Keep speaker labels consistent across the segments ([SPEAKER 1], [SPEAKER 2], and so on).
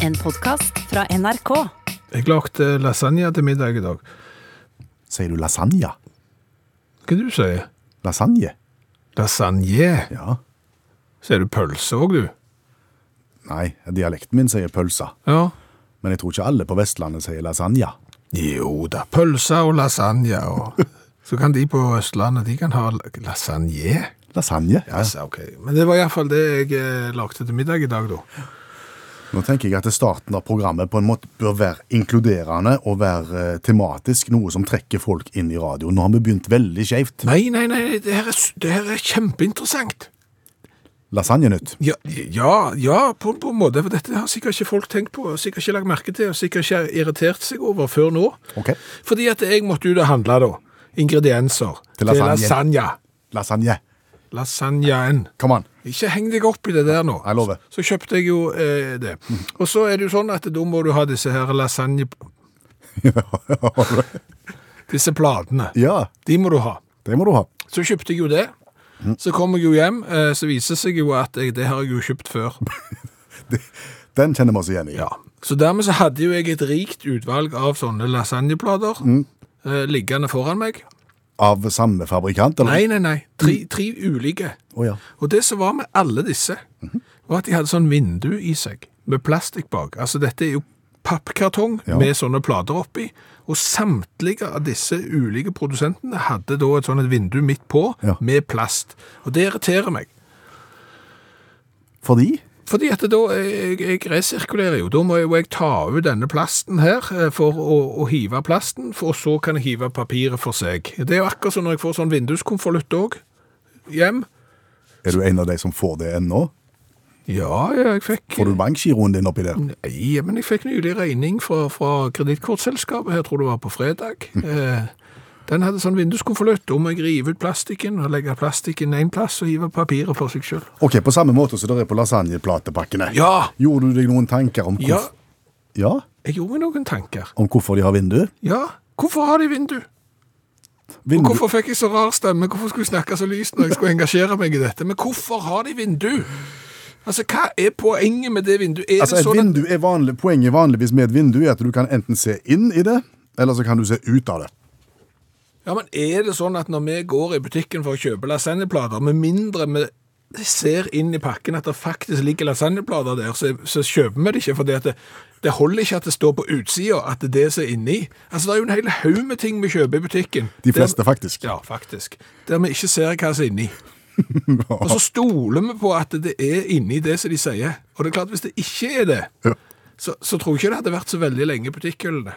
[SPEAKER 1] En podkast fra NRK.
[SPEAKER 2] Jeg lagde lasagne til middag i dag.
[SPEAKER 3] Sier du lasagne?
[SPEAKER 2] Hva er det du sier?
[SPEAKER 3] Lasagne?
[SPEAKER 2] Lasagne?
[SPEAKER 3] Ja.
[SPEAKER 2] Sier du pølse òg, du?
[SPEAKER 3] Nei, dialekten min sier pølsa.
[SPEAKER 2] Ja.
[SPEAKER 3] Men jeg tror ikke alle på Vestlandet sier lasagne.
[SPEAKER 2] Jo da, pølse og lasagne og Så kan de på Østlandet, de kan ha lasagne.
[SPEAKER 3] Lasagne? Ja.
[SPEAKER 2] Altså, ok. Men det var iallfall det jeg eh, lagde til middag i dag, da.
[SPEAKER 3] Nå tenker jeg at starten av programmet på en måte bør være inkluderende og være eh, tematisk, noe som trekker folk inn i radioen. Nå har vi begynt veldig skjevt.
[SPEAKER 2] Nei, nei, nei, det her er, s- det her er kjempeinteressant.
[SPEAKER 3] Lasagnenytt.
[SPEAKER 2] Ja, ja, ja på, på en måte. For dette har sikkert ikke folk tenkt på, sikkert ikke lagt merke til, og sikkert ikke irritert seg over før nå.
[SPEAKER 3] Ok.
[SPEAKER 2] Fordi at jeg måtte ut og handle, da. Ingredienser.
[SPEAKER 3] Til
[SPEAKER 2] Til
[SPEAKER 3] lasagne.
[SPEAKER 2] lasagne.
[SPEAKER 3] Lasagne.
[SPEAKER 2] Lasagnen.
[SPEAKER 3] Kom an.
[SPEAKER 2] Ikke heng deg opp i det der nå.
[SPEAKER 3] Jeg lover.
[SPEAKER 2] Så kjøpte jeg jo eh, det. Og så er det jo sånn at da må du ha disse her lasagne... disse platene.
[SPEAKER 3] Ja,
[SPEAKER 2] De må du ha.
[SPEAKER 3] det må du ha.
[SPEAKER 2] Så kjøpte jeg jo det.
[SPEAKER 3] Mhm.
[SPEAKER 2] Så kom jeg jo hjem, eh, så viser det seg jo at jeg, det har jeg jo kjøpt før.
[SPEAKER 3] Den kjenner vi oss igjen i.
[SPEAKER 2] Ja. Så dermed så hadde jo jeg et rikt utvalg av sånne lasagneplater
[SPEAKER 3] Mhm.
[SPEAKER 2] eh, liggende foran meg.
[SPEAKER 3] Av samme fabrikant, eller?
[SPEAKER 2] Nei, nei, nei. Tre, tre ulike.
[SPEAKER 3] Å ja.
[SPEAKER 2] Og det som var med alle disse, var at de hadde sånn vindu i seg, med plastikk bak. Altså dette er jo pappkartong
[SPEAKER 3] Ja.
[SPEAKER 2] med sånne plater oppi, og samtlige av disse ulike produsentene hadde da et sånn et vindu midt på,
[SPEAKER 3] Ja.
[SPEAKER 2] med plast. Og det irriterer meg.
[SPEAKER 3] Fordi?
[SPEAKER 2] Fordi at da, eh, jeg, jeg resirkulerer jo, da må jo jeg ta ut denne plasten her eh, for å, å hive plasten, for og så kan jeg hive papiret for seg. Det er jo akkurat som når jeg får sånn vinduskonvolutt òg, hjem.
[SPEAKER 3] Er du en av de som får det ennå?
[SPEAKER 2] Ja, ja, jeg fikk
[SPEAKER 3] Får du bankgiroen din oppi der?
[SPEAKER 2] Nei, men jeg fikk nylig regning fra, fra kreditkortselskapet, jeg tror det var på fredag.
[SPEAKER 3] Hm.
[SPEAKER 2] Eh, den hadde sånn vinduskonvolutt, da må jeg rive ut plastikken og legge plastikken en plass og hive papiret for seg sjøl.
[SPEAKER 3] Ok, på samme måte som det er på lasagneplatepakkene.
[SPEAKER 2] Ja!
[SPEAKER 3] Gjorde du deg noen tanker om,
[SPEAKER 2] Ja,
[SPEAKER 3] hvorf ja,
[SPEAKER 2] jeg gjorde meg noen tanker.
[SPEAKER 3] om hvorfor de har vindu?
[SPEAKER 2] Ja, hvorfor har de vindu?
[SPEAKER 3] Vindu-
[SPEAKER 2] Og hvorfor fikk jeg så rar stemme? Hvorfor skulle jeg snakke så lyst når jeg skulle engasjere meg i dette? Men hvorfor har de vindu? Altså, hva er poenget med det vinduet? Er
[SPEAKER 3] Altså,
[SPEAKER 2] det
[SPEAKER 3] et
[SPEAKER 2] sånn at-
[SPEAKER 3] vindu er vanlig, poenget vanligvis med et vindu er at du kan enten se inn i det, eller så kan du se ut av det.
[SPEAKER 2] Ja, men er det sånn at når vi går i butikken for å kjøpe lasagneplater, med mindre vi ser inn i pakken at det faktisk ligger lasagneplater der, så, så kjøper vi det ikke, fordi at det, det holder ikke at det står på utsida at det er det som er inni. Altså, det er jo en hel haug med ting vi kjøper i butikken.
[SPEAKER 3] De
[SPEAKER 2] Der-
[SPEAKER 3] fleste, faktisk.
[SPEAKER 2] Ja, faktisk. Der vi ikke ser hva som er inni. Og så stoler vi på at det er inni det som de sier. Og det er klart, hvis det ikke er det,
[SPEAKER 3] Ja.
[SPEAKER 2] så, så tror jeg ikke det hadde vært så veldig lenge i butikkhyllene.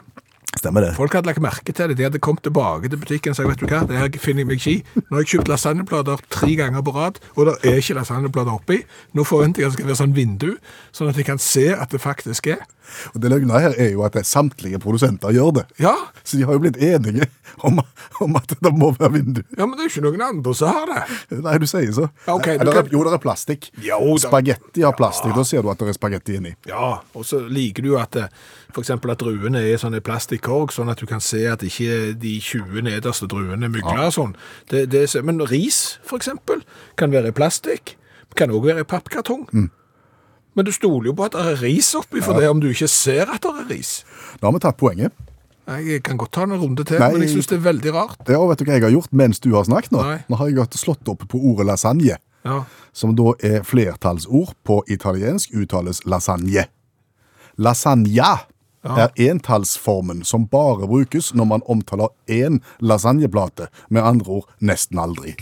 [SPEAKER 3] Stemmer det.
[SPEAKER 2] Folk hadde lagt merke til det. De hadde kommet tilbake til butikken og sagt vet du hva, det her finner jeg meg ikke i. Nå har jeg kjøpt lasagneplater tre ganger på rad, og det er ikke lasagneplater oppi. Nå forventer jeg at det skal være sånn vindu, sånn at jeg kan se at det faktisk er.
[SPEAKER 3] Og det løgna her er jo at det er samtlige produsenter gjør det.
[SPEAKER 2] Ja,
[SPEAKER 3] Så de har jo blitt enige om, om at det må være vindu.
[SPEAKER 2] ja men det er jo ikke noen andre som har det.
[SPEAKER 3] Nei, du sier så.
[SPEAKER 2] Ja, ok, du
[SPEAKER 3] Eller,
[SPEAKER 2] kan-
[SPEAKER 3] Jo, det er plastikk.
[SPEAKER 2] Jo, da-
[SPEAKER 3] Spagetti har plastikk, da ser du at det er spagetti inni.
[SPEAKER 2] Ja, og så liker du jo at eh, for eksempel at druene er sånn i plastikkorg, sånn at du kan se at ikke de 20 nederste druene mygler og sånn. Det, det, er så- men ris, for eksempel, kan være i plastikk, kan også være i pappkartong. Men du stoler jo på at det er ris oppi for det, om du ikke ser at det er ris.
[SPEAKER 3] Da har vi tatt poenget.
[SPEAKER 2] Jeg kan godt ta en runde til,
[SPEAKER 3] Nei.
[SPEAKER 2] men jeg synes det er veldig rart.
[SPEAKER 3] Ja, og vet du hva jeg har gjort mens du har snakket nå?
[SPEAKER 2] Nei.
[SPEAKER 3] Nå har jeg gått- slått opp på ordet lasagne,
[SPEAKER 2] Ja,
[SPEAKER 3] som da er flertallsord på italiensk uttales lasagne. Lasagna er entallsformen som bare brukes når man omtaler én lasagneplate, med andre ord nesten aldri.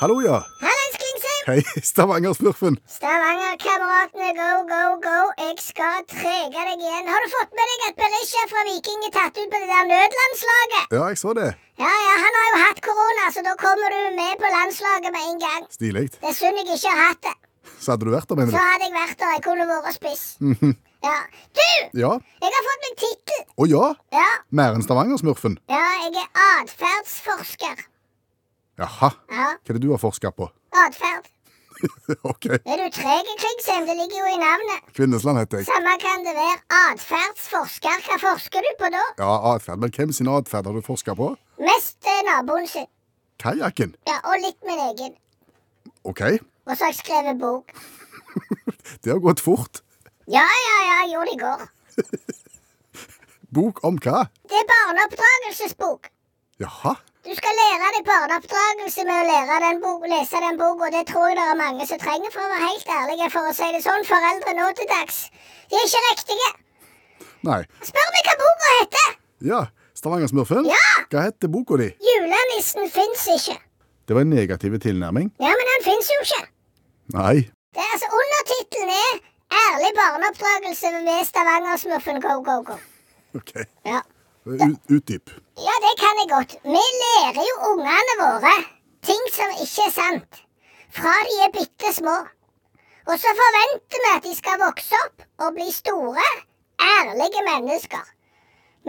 [SPEAKER 3] Hallo, ja.
[SPEAKER 4] Hallais, Klingsheim!
[SPEAKER 3] Hei, Stavanger-smurfen.
[SPEAKER 4] Stavanger-kameratene, go, go, go. Jeg skal trege deg igjen. Har du fått med deg at Berisha fra Viking er tatt ut på det der nødlandslaget?
[SPEAKER 3] Ja, jeg så det.
[SPEAKER 4] Ja, ja, han har jo hatt korona, så da kommer du med på landslaget med en gang.
[SPEAKER 3] Stilig.
[SPEAKER 4] Det er synd jeg ikke har hatt det.
[SPEAKER 3] Så hadde du vært der, mener
[SPEAKER 4] Så
[SPEAKER 3] du?
[SPEAKER 4] hadde jeg vært der. Jeg kunne vært spiss. Ja. Du!
[SPEAKER 3] Ja.
[SPEAKER 4] Jeg har fått meg tittel.
[SPEAKER 3] Å ja.
[SPEAKER 4] Ja.
[SPEAKER 3] Mer enn Stavanger-smurfen.
[SPEAKER 4] ja, jeg er atferdsforsker.
[SPEAKER 3] Jaha.
[SPEAKER 4] Ja.
[SPEAKER 3] Hva er det du har forska på?
[SPEAKER 4] Atferd.
[SPEAKER 3] OK.
[SPEAKER 4] Er du treg, Klingsheim? Det ligger jo i navnet.
[SPEAKER 3] Kvinnesland heter jeg.
[SPEAKER 4] Samme kan det være. Atferdsforsker. Hva forsker du på da?
[SPEAKER 3] Ja, atferd. Men hvem sin atferd har du forska på?
[SPEAKER 4] Mest eh, naboen sin.
[SPEAKER 3] Kajakken.
[SPEAKER 4] Ja, og litt min egen.
[SPEAKER 3] OK.
[SPEAKER 4] Og så har jeg skrevet bok.
[SPEAKER 3] Det har gått fort.
[SPEAKER 4] Ja, ja, ja, jo, det går.
[SPEAKER 3] Bok om hva?
[SPEAKER 4] Det er barneoppdragelsesbok.
[SPEAKER 3] Jaha.
[SPEAKER 4] Du skal lære deg barneoppdragelse med å lære den bok, lese den boka, og det tror jeg det er mange som trenger, for å være helt ærlig, for å si det sånn. Foreldre nå til dags, de er ikke riktige.
[SPEAKER 3] Nei.
[SPEAKER 4] Spør meg hva boka heter!
[SPEAKER 3] Ja, Stavanger Smurfen?
[SPEAKER 4] Ja!
[SPEAKER 3] Hva heter boka di?
[SPEAKER 4] Julenissen fins ikke.
[SPEAKER 3] Det var en negativ tilnærming.
[SPEAKER 4] Ja, men han fins jo ikke.
[SPEAKER 3] Nei.
[SPEAKER 4] Det er altså Undertittelen er 'Ærlig barneoppdragelse ved Stavanger-smurfen go, go, go'.
[SPEAKER 3] OK.
[SPEAKER 4] Ja.
[SPEAKER 3] U- Utdyp.
[SPEAKER 4] ja, det kan jeg godt. Vi lærer jo ungene våre ting som ikke er sant, fra de er bitte små. Og så forventer vi at de skal vokse opp og bli store, ærlige mennesker.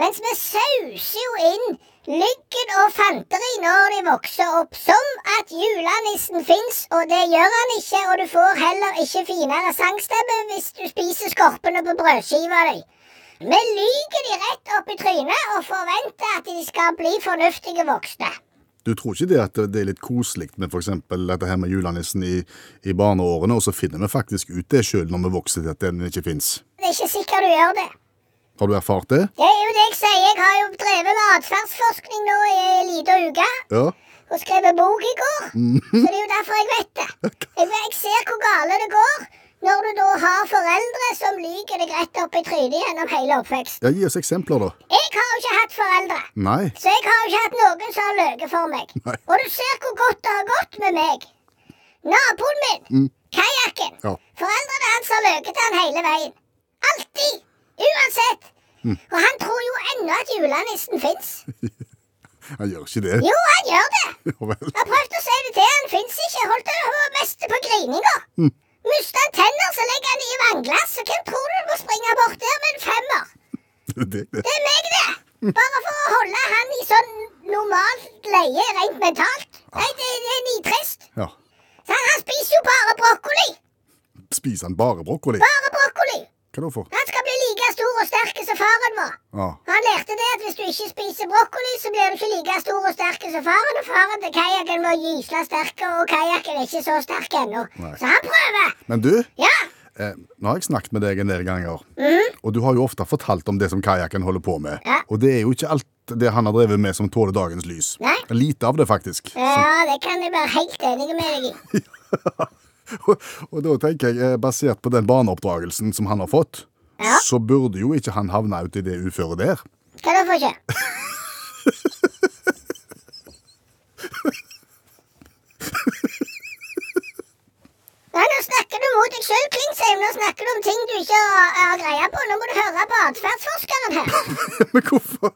[SPEAKER 4] Mens vi sauser jo inn lyggen og fanteri når de vokser opp, som at julenissen fins, og det gjør han ikke, og du får heller ikke finere sangstemme hvis du spiser skorpene på brødskiva di. Vi lyver de rett opp i trynet og forventer at de skal bli fornuftige voksne.
[SPEAKER 3] Du tror ikke det at det er litt koselig med f.eks. dette her med julenissen i, i barneårene, og så finner vi faktisk ut det sjøl når vi vokser til at den ikke fins?
[SPEAKER 4] Det er ikke sikkert du gjør det.
[SPEAKER 3] Har du erfart det?
[SPEAKER 4] Det er jo det jeg sier, jeg har jo drevet med atferdsforskning nå i ei lita uke.
[SPEAKER 3] Ja.
[SPEAKER 4] og skrev en bok i går. Så det er jo derfor jeg vet det. Jeg, jeg ser hvor gale det går når du da har foreldre som lyver deg rett opp i trynet gjennom hele oppveksten.
[SPEAKER 3] ja gi oss eksempler, da.
[SPEAKER 4] Jeg har jo ikke hatt foreldre,
[SPEAKER 3] Nei.
[SPEAKER 4] så jeg har jo ikke hatt noen som har løyet for meg.
[SPEAKER 3] Nei.
[SPEAKER 4] Og du ser hvor godt det har gått med meg. Naboen min, kajakken.
[SPEAKER 3] Mm. Ja.
[SPEAKER 4] Foreldrene hans har løyet til han hele veien. Alltid. Uansett.
[SPEAKER 3] Mm.
[SPEAKER 4] Og han tror jo ennå at julenissen fins.
[SPEAKER 3] Han gjør ikke det.
[SPEAKER 4] Jo, han gjør det.
[SPEAKER 3] Ja vel.
[SPEAKER 4] Jeg har prøvd å si det til han, fins ikke. Holdt det hun var mest på grininga. Mm. Mista han tenner, så legger han de i vannglass. Så hvem tror du må springe bort der med en femmer?
[SPEAKER 3] Det, det.
[SPEAKER 4] Det er meg, det! Bare for å holde han i sånn normalt leie rent mentalt. Nei, det, det er nitrist.
[SPEAKER 3] Ja.
[SPEAKER 4] Så han, han spiser jo bare brokkoli.
[SPEAKER 3] Spiser han bare brokkoli?
[SPEAKER 4] Bare brokkoli.
[SPEAKER 3] Hva da for?
[SPEAKER 4] Han skal bli like stor og sterk som faren var.
[SPEAKER 3] Ja.
[SPEAKER 4] Han lærte det at hvis du ikke spiser brokkoli, så blir du ikke like stor og sterk som faren. Og faren til kajakken var gysla sterk, og kajakken er ikke så sterk ennå.
[SPEAKER 3] Nei.
[SPEAKER 4] Så han prøver.
[SPEAKER 3] Men du,
[SPEAKER 4] Ja,
[SPEAKER 3] eh, nå har jeg snakket med deg en del ganger, og du har jo ofte fortalt om det som kajakken holder på med.
[SPEAKER 4] Mm. Ja.
[SPEAKER 3] Og det er jo ikke alt det han har drevet med som tåler dagens lys.
[SPEAKER 4] Nei.
[SPEAKER 3] Lite av det, faktisk.
[SPEAKER 4] ja det kan jeg være helt enig med deg i.
[SPEAKER 3] Og, og da tenker jeg, eh, basert på den barneoppdragelsen som han har fått,
[SPEAKER 4] Ja.
[SPEAKER 3] så burde jo ikke han havne ut i det uføret der.
[SPEAKER 4] Hva da for ikke? Nei, nå snakker du mot deg sjøl, Klingsheim. Nå snakker du om ting du ikke har, har greie på. Nå må du høre på atferdsforskeren her.
[SPEAKER 3] Men hvorfor,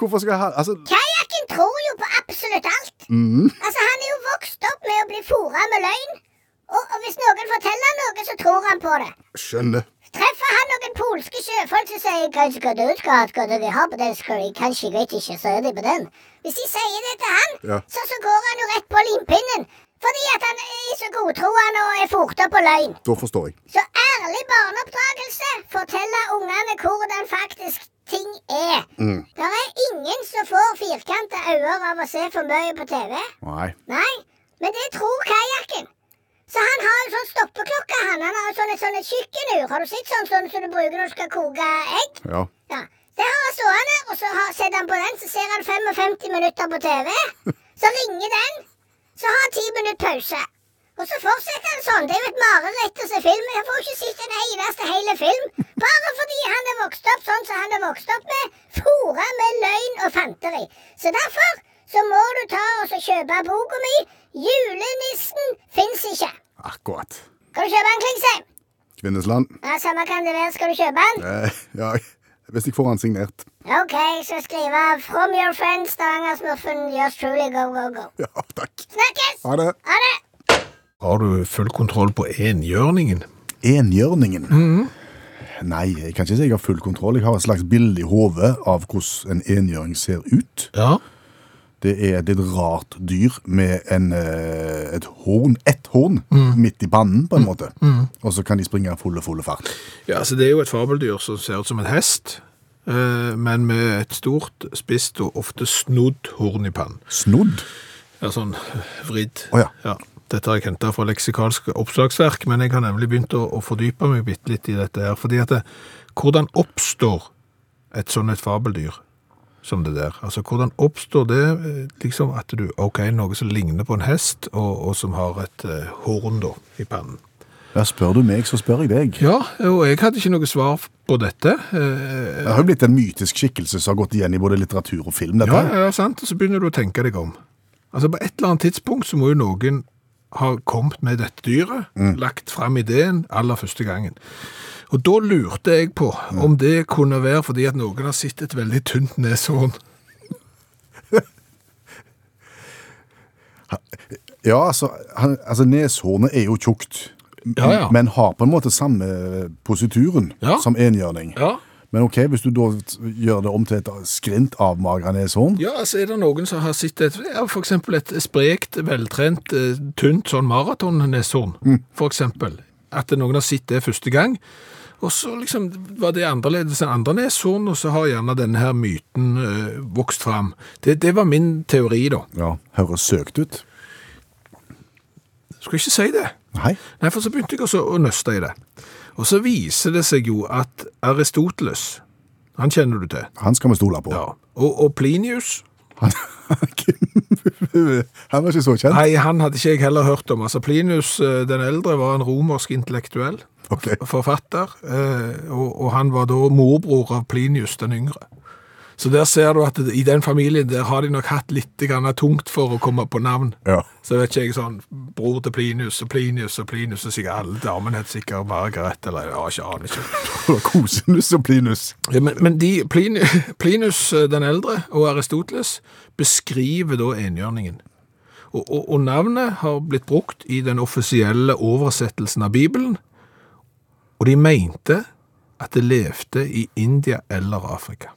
[SPEAKER 3] hvorfor skal han Altså,
[SPEAKER 4] Kajakken tror jo på absolutt alt. Altså, Han er jo vokst opp med å bli fora med løgn. Og, og hvis noen forteller han noe, så tror han på det.
[SPEAKER 3] skjønner.
[SPEAKER 4] Treffer han noen polske sjøfolk som sier kanskje hva du skal ha, hva de har på den skolen, kanskje jeg vet ikke, så er de på den. Hvis de sier det til han,
[SPEAKER 3] Ja.
[SPEAKER 4] så, så går han jo rett på limpinnen. Fordi at han er så godtroende og er fort opp på løgn.
[SPEAKER 3] Da forstår jeg.
[SPEAKER 4] Så ærlig barneoppdragelse forteller ungene hvordan faktisk ting er. Det er ingen som får firkanta øyne av å se for mye på TV.
[SPEAKER 3] Nei.
[SPEAKER 4] Nei, men det tror kajakken. Så han har jo sånn stoppeklokke, han. Han har jo sånne, sånne kjøkkenur. Har du sett sånn sånn som du bruker når du skal koke egg?
[SPEAKER 3] Ja.
[SPEAKER 4] Ja. Det har han stående, og så har, setter han på den, så ser han 55 minutter på TV. Så ringer den, så har han 10 minutter pause. Og så fortsetter han sånn. Det er jo et mareritt å se film. Jeg får jo ikke sett en eneste hele film. Bare fordi han er vokst opp sånn som han er vokst opp med. Fora med løgn og fanteri. Så derfor så må du ta og så kjøpe boka mi. 'Julenissen fins ikke'.
[SPEAKER 3] Akkurat.
[SPEAKER 4] Skal du kjøpe den, Klingsheim?
[SPEAKER 3] Kvinnesland.
[SPEAKER 4] Ja, Samme kan det være. Skal du kjøpe den?
[SPEAKER 3] Eh, ja, hvis jeg får han signert.
[SPEAKER 4] Ok, så skrive 'From your friend Stavanger-smurfen yours truly go, go, go'.
[SPEAKER 3] Ja, takk.
[SPEAKER 4] Snakkes!
[SPEAKER 3] Ha det.
[SPEAKER 4] Ha det!
[SPEAKER 2] Har du full kontroll på enhjørningen?
[SPEAKER 3] Enhjørningen.
[SPEAKER 2] Mm.
[SPEAKER 3] Nei, jeg kan ikke si jeg har full kontroll. Jeg har et slags bilde i hodet av hvordan en enhjørning ser ut.
[SPEAKER 2] Ja.
[SPEAKER 3] Det er et litt rart dyr med en, eh, et horn, ett horn,
[SPEAKER 2] Mm.
[SPEAKER 3] midt i pannen, på en måte. Og så kan de springe fulle, fulle fart.
[SPEAKER 2] Ja, altså Det er jo et fabeldyr som ser ut som en hest, eh, men med et stort, spisst og ofte snodd horn i pannen.
[SPEAKER 3] Snodd.
[SPEAKER 2] Ja, sånn vridd.
[SPEAKER 3] Å ja.
[SPEAKER 2] ja. Dette har jeg henta fra leksikalske oppslagsverk, men jeg har nemlig begynt å, å fordype meg bitte litt i dette her. fordi at det, Hvordan oppstår et sånn et fabeldyr som det der? Altså, Hvordan oppstår det eh, liksom at du OK, noe som ligner på en hest, og, og som har et eh, horn da i pannen?
[SPEAKER 3] Ja, spør du meg, så spør jeg deg.
[SPEAKER 2] Ja, og jeg hadde ikke noe svar på dette. eh,
[SPEAKER 3] Det har jo blitt en mytisk skikkelse som har gått igjen i både litteratur og film. dette.
[SPEAKER 2] Ja, ja, ja, sant. Og så begynner du å tenke deg om. Altså, på et eller annet tidspunkt så må jo noen ha kommet med dette dyret, lagt frem ideen aller første gangen. Og da lurte jeg på om det kunne være fordi at noen har sett et veldig tynt neshorn.
[SPEAKER 3] Ja, altså, han, altså neshornet er jo tjukt,
[SPEAKER 2] Ja, ja.
[SPEAKER 3] men har på en måte samme posituren
[SPEAKER 2] Ja.
[SPEAKER 3] som enhjørning.
[SPEAKER 2] Ja.
[SPEAKER 3] Men ok, hvis du da gjør det om til et skrint avmagra neshorn
[SPEAKER 2] Ja, altså er det noen som har sett et, ja, for eksempel et sprekt, veltrent, eh, tynt sånn maraton-neshorn, for eksempel. At noen har sett det første gang, og så liksom var det annerledes enn andre neshorn, og så har gjerne denne her myten eh, vokst frem. Det, det var min teori da.
[SPEAKER 3] ja, høres søkt ut.
[SPEAKER 2] Skal ikke si det.
[SPEAKER 3] Nei.
[SPEAKER 2] Nei, for så begynte jeg også å nøste i det. Og så viser det seg jo at Aristoteles, han kjenner du til,
[SPEAKER 3] Han skal vi stole på.
[SPEAKER 2] ja. og, og Plinius,
[SPEAKER 3] Han, han var ikke så kjent.
[SPEAKER 2] Nei, han hadde ikke jeg heller hørt om. Altså, Plinius eh, den eldre var en romersk intellektuell
[SPEAKER 3] Ok.
[SPEAKER 2] f- forfatter, eh, og, og han var da morbror av Plinius den yngre. Så der ser du at i den familien der har de nok hatt litt grann tungt for å komme på navn.
[SPEAKER 3] Ja.
[SPEAKER 2] Så vet ikke jeg sånn, bror til Plinius og Plinius og Plinius, og sikkert alle damene het sikkert Margaret, eller ja, ikke aner ikke.
[SPEAKER 3] Kosinus og plinus.
[SPEAKER 2] Ja, men, men de, Plin, Plinus eh, den eldre og Aristoteles beskriver da enhjørningen. Og, og, og navnet har blitt brukt i den offisielle oversettelsen av Bibelen, og de mente at det levde i India eller Afrika.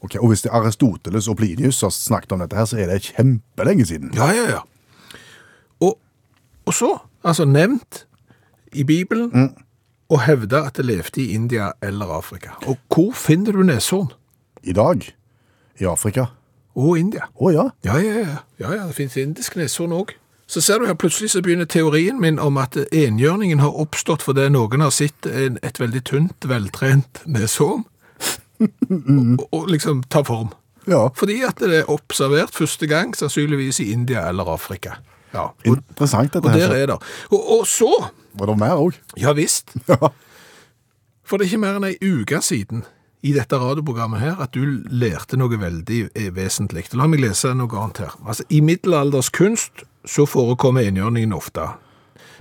[SPEAKER 3] Ok, Og hvis det er Aristoteles og Plinius har snakket om dette, her, så er det kjempelenge siden.
[SPEAKER 2] Ja, ja, ja. Og, og så, altså nevnt i Bibelen, og hevda at det levde i India eller Afrika. Og hvor finner du neshorn?
[SPEAKER 3] I dag. I Afrika.
[SPEAKER 2] Og India.
[SPEAKER 3] Å ja.
[SPEAKER 2] Ja, ja, ja. ja, ja det finnes indisk neshorn òg. Så ser du her, plutselig så begynner teorien min om at enhjørningen har oppstått fordi noen har sett en, et veldig tynt, veltrent neshorn, og, og liksom ta form.
[SPEAKER 3] ja.
[SPEAKER 2] Fordi at det er observert første gang, sannsynligvis i India eller Afrika. Ja, og,
[SPEAKER 3] Interessant dette
[SPEAKER 2] og der
[SPEAKER 3] her.
[SPEAKER 2] er det. Og, og så,
[SPEAKER 3] Var det mer òg?
[SPEAKER 2] ja visst,
[SPEAKER 3] Ja.
[SPEAKER 2] For det er ikke mer enn ei uke siden i dette radioprogrammet her at du lærte noe veldig eh, vesentlig. La meg lese noe annet her. Altså, I middelalderskunst så forekommer enhjørningen ofte.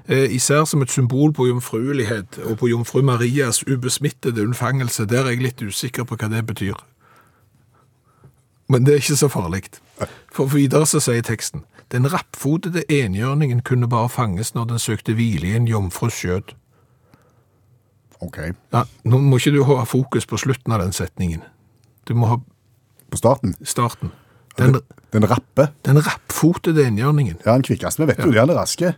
[SPEAKER 2] Eh, især som et symbol på jomfruelighet og på jomfru Marias ubesmittede unnfangelse. Der er jeg litt usikker på hva det betyr. Men det er ikke så farlig. For videre så sier teksten Den rappfotede enhjørningen kunne bare fanges når den søkte hvile i en jomfrus skjød.
[SPEAKER 3] Ok.
[SPEAKER 2] Ja, nå må ikke du ha fokus på slutten av den setningen. Du må ha
[SPEAKER 3] På starten.
[SPEAKER 2] starten. Den,
[SPEAKER 3] Den rappe.
[SPEAKER 2] den rappfotede enhjørningen.
[SPEAKER 3] Ja, den kvikkeste. Vi vet jo det, han er raske.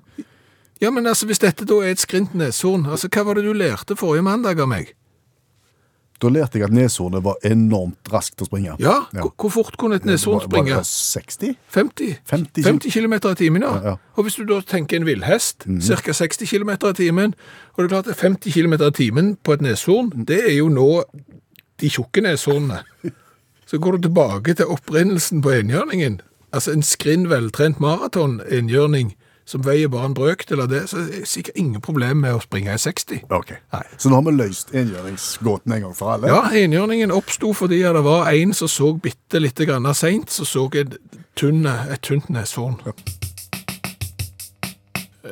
[SPEAKER 2] Ja, men altså, hvis dette da er et skrint neshorn, altså, hva var det du lærte forrige mandag av meg?
[SPEAKER 3] Da lærte jeg at neshornet var enormt raskt å springe.
[SPEAKER 2] Ja, hvor- hvor fort kunne et neshorn
[SPEAKER 3] Var-
[SPEAKER 2] springe?
[SPEAKER 3] var det 60?
[SPEAKER 2] 50,
[SPEAKER 3] 50
[SPEAKER 2] km i timen, ja.
[SPEAKER 3] Ja, Mhm. ja.
[SPEAKER 2] Og hvis du da tenker en villhest, ca. 60 km i timen, og det er klart at 50 km i timen på et
[SPEAKER 3] Mm.
[SPEAKER 2] neshorn, det er jo nå de tjukke neshornene. Så går du tilbake til opprinnelsen på enhjørningen. Altså en skrinn veltrent maraton-enhjørning som veier bare en brøkdel av det, så er det sikkert ingen problem med å springe i 60.
[SPEAKER 3] Ok.
[SPEAKER 2] Nei.
[SPEAKER 3] Så nå har vi løst engjøringsgåten en gang for alle.
[SPEAKER 2] Ja, enhjørningen oppsto fordi det var en som så bitte litt seint, som så et tynn- et tynt neshorn.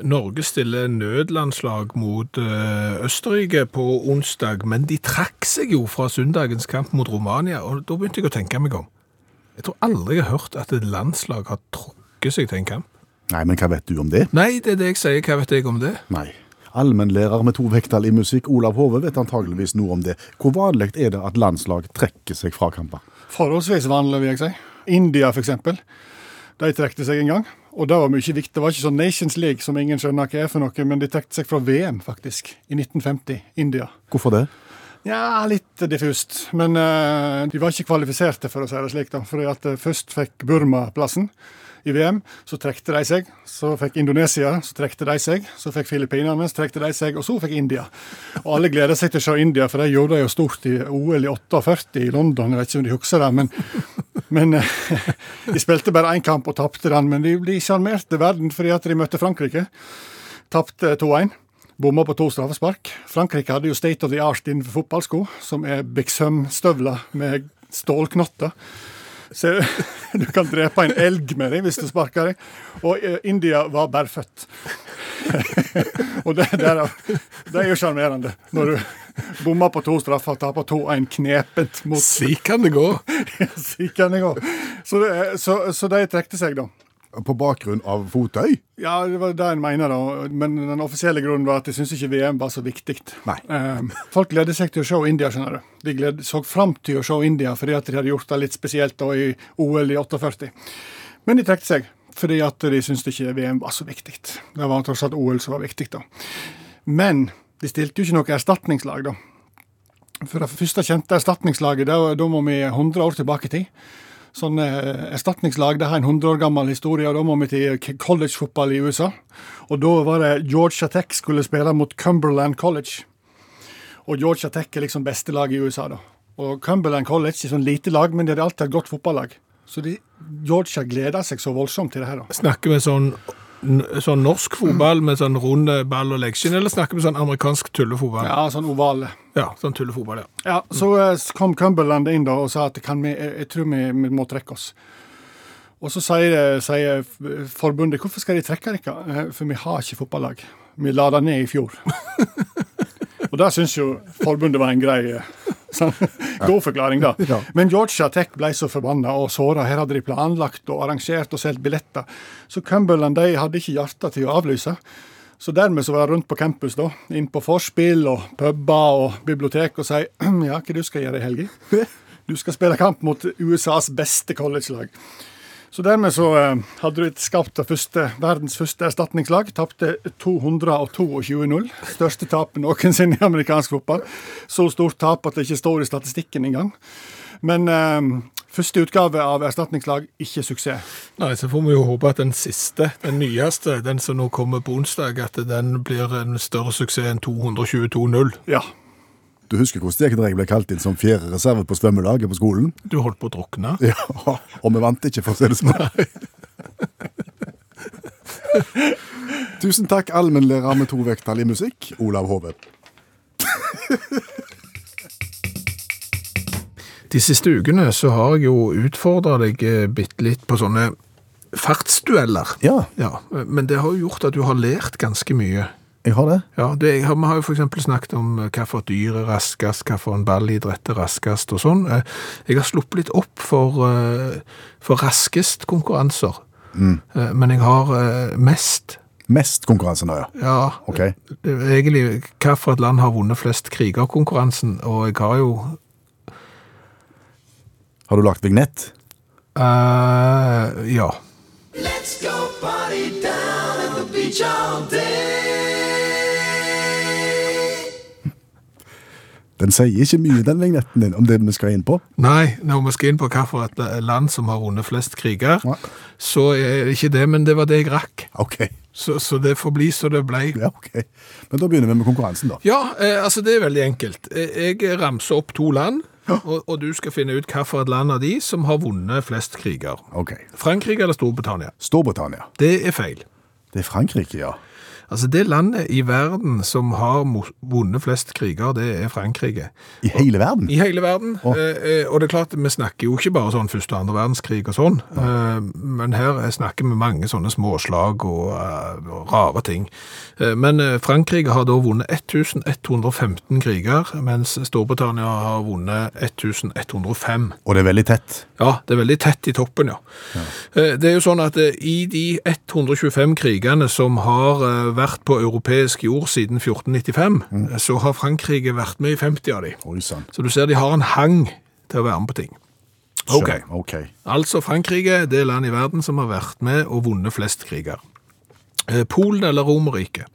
[SPEAKER 2] Norge stiller nødlandslag mot eh, Østerrike på onsdag, men de trakk seg jo fra søndagens kamp mot Romania, og da begynte jeg å tenke meg om. Jeg tror aldri jeg har hørt at et landslag har trukket seg til en kamp.
[SPEAKER 3] Nei, men hva vet du om det?
[SPEAKER 2] Nei, det er det jeg sier. Hva vet jeg om det?
[SPEAKER 3] Nei. Allmennlærer med to vekttall i musikk, Olav Hove, vet antageligvis noe om det. Hvor vanlig er det at landslag trekker seg fra kamper?
[SPEAKER 5] Forholdsvis vanlig, vil jeg si. India, for eksempel. De trekte seg en gang, og det var mye viktig. Det var ikke sånn Nations League som ingen skjønner hva er for noe, men de trekte seg fra VM, faktisk, i 1950, India.
[SPEAKER 3] Hvorfor det?
[SPEAKER 5] Ja, litt diffust. Men eh, de var ikke kvalifiserte, for å si det slik. da, fordi at eh, Først fikk Burma plassen i VM. Så trekte de seg. Så fikk Indonesia, så trekte de seg. Så fikk Filippinene, så trekte de seg. Og så fikk India. Og alle gleder seg til å se India, for de gjorde det jo stort i OL i 48 i London. Jeg vet ikke om de husker det, men, men eh, de spilte bare én kamp og tapte den. Men de, de sjarmerte verden fordi at de møtte Frankrike. Tapte 2-1. Bomma på to straffespark. Frankrike hadde jo state of the art innenfor fotballsko, som er Bixham-støvler med stålknotter. Så du kan drepe en elg med dem hvis du sparker dem. Og eh, India var bærføtt. og det, det, er, det er jo sjarmerende, når du bommer på to straffer og taper 2-1 knepent mot
[SPEAKER 2] Slik kan det gå.
[SPEAKER 5] Sikker'n i går. Så, det, er- så, så de trekte seg, da.
[SPEAKER 3] På bakgrunn av fotøy?
[SPEAKER 5] Ja, det var det en mener, da. Men den offisielle grunnen var at de syntes ikke VM var så viktig.
[SPEAKER 3] Nei.
[SPEAKER 5] Eh, folk gledet seg til å se India, skjønner du. De gled, så fram til å se India fordi at de hadde gjort det litt spesielt da i OL i 48. Men de trekte seg fordi at de syntes ikke VM var så viktig. Det var tross alt OL som var viktig, da. Men de stilte jo ikke noe erstatningslag, da. For det første kjente erstatningslaget, da, da må vi 100 år tilbake i tid. Sånn eh, erstatningslag det har en 100 år gammel historie, og da må vi til k- collegefotball i USA. Og da var det Georgia Tech skulle spille mot Cumberland College. Og Georgia Tech er liksom beste lag i USA, da. Og Cumberland College er sånn lite lag, men de hadde alltid et godt fotballag. Så de, Georgia gleder seg så voldsomt til det her, da.
[SPEAKER 2] Snakker vi sånn, n- sånn norsk fotball med sånn rund ball og leggskin, eller snakker vi sånn amerikansk tullefotball?
[SPEAKER 5] Ja, sånn ovale.
[SPEAKER 2] Ja, sånn tullefotball, ja.
[SPEAKER 5] Ja, så eh, s- kom Cumberland inn da og sa at kan vi, jeg, jeg tror vi, vi må trekke oss. Og så sier, eh, sier f- forbundet hvorfor skal de trekke dere? Eh, For vi har ikke fotballag. Vi la det ned i fjor. og det syns jo forbundet var en grei eh, sånn, god forklaring, da.
[SPEAKER 3] Ja.
[SPEAKER 5] Men Georgia Tech ble så forbanna og såra. Her hadde de planlagt og arrangert og solgt billetter. Så Cumberland de hadde ikke hjerte til å avlyse. Så dermed så var jeg rundt på campus, da. Inn på forspill og puber og bibliotek og si ja, hva du skal gjøre i helga? Du skal spille kamp mot USAs beste collegelag. Så dermed så eh, hadde du et skapt det første, verdens første erstatningslag. Tapte 222-0. Største tapet noensinne i amerikansk fotball. Så stort tap at det ikke står i statistikken engang. Men eh, første utgave av erstatningslag, ikke suksess.
[SPEAKER 2] Nei, så får vi jo håpe at den siste, den nyeste, den som nå kommer på onsdag, at den blir en større suksess enn 222-0.
[SPEAKER 5] Ja.
[SPEAKER 3] Du husker hvordan det gikk da jeg ble kalt inn som fjerde reserve på svømmelaget på skolen?
[SPEAKER 2] Du holdt på å drukne.
[SPEAKER 3] Ja, Og vi vant ikke, for å si det sånn. Tusen takk, allmennlærer med to vekttall i musikk, Olav Hove.
[SPEAKER 2] De siste ukene så har jeg jo utfordra deg eh, bitte litt på sånne fartsdueller.
[SPEAKER 3] Ja.
[SPEAKER 2] Men det har jo gjort at du har lært ganske mye.
[SPEAKER 3] Jeg har det.
[SPEAKER 2] Ja, det, jeg har, Vi har jo f.eks. snakket om eh, hva for dyr er raskest, hva for en ballidrett er raskest og sånn. Eh, Jeg har sluppet litt opp for, eh, for raskest konkurranser. Eh, Men jeg har eh, mest
[SPEAKER 3] Mest konkurranse nå, ja.
[SPEAKER 2] Ja,
[SPEAKER 3] Ok.
[SPEAKER 2] det er egentlig hva for et land har vunnet flest krigerkonkurransen, og jeg har jo
[SPEAKER 3] Har du lagt vignett?
[SPEAKER 2] eh, Ja.
[SPEAKER 6] Let's go party down at the beach all day.
[SPEAKER 3] Den sier ikke mye, den vignetten din, om det vi skal inn på.
[SPEAKER 2] Nei, når vi skal inn på hvilket land som har vunnet flest kriger,
[SPEAKER 3] Ja.
[SPEAKER 2] så er det ikke det, men det var det jeg rakk.
[SPEAKER 3] Ok.
[SPEAKER 2] Så, så det får bli så det blei.
[SPEAKER 3] Ja, ok. Men da begynner vi med konkurransen, da.
[SPEAKER 2] Ja, eh, altså det er veldig enkelt. Eh, Jeg ramser opp to land, og, og du skal finne ut hvilket land av de som har vunnet flest kriger.
[SPEAKER 3] Ok.
[SPEAKER 2] Frankrike eller Storbritannia?
[SPEAKER 3] Storbritannia.
[SPEAKER 2] Det er feil.
[SPEAKER 3] Det er Frankrike, ja.
[SPEAKER 2] Altså Det landet i verden som har mo- vunnet flest kriger, det er Frankrike.
[SPEAKER 3] I hele verden.
[SPEAKER 2] I hele verden.
[SPEAKER 3] Å.
[SPEAKER 2] Eh, eh, og det er klart, vi snakker jo ikke bare sånn første og andre verdenskrig og sånn, eh, men her snakker vi mange sånne småslag og, eh, og rare ting. Eh, men eh, Frankrike har da vunnet 1115 kriger, mens Storbritannia har vunnet 1105.
[SPEAKER 3] Og det er veldig tett.
[SPEAKER 2] Ja, det er veldig tett i toppen, ja. Eh, Det er jo sånn at eh, i de 125 krigene som har eh, vært på europeisk jord siden 1495, eh, så har Frankrike vært med i 50 av de.
[SPEAKER 3] Oi sann.
[SPEAKER 2] Så du ser de har en hang til å være med på ting. Ok,
[SPEAKER 3] Skjønner. Ok.
[SPEAKER 2] altså Frankrike det er landet i verden som har vært med og vunnet flest kriger. Eh, Polen eller Romerike?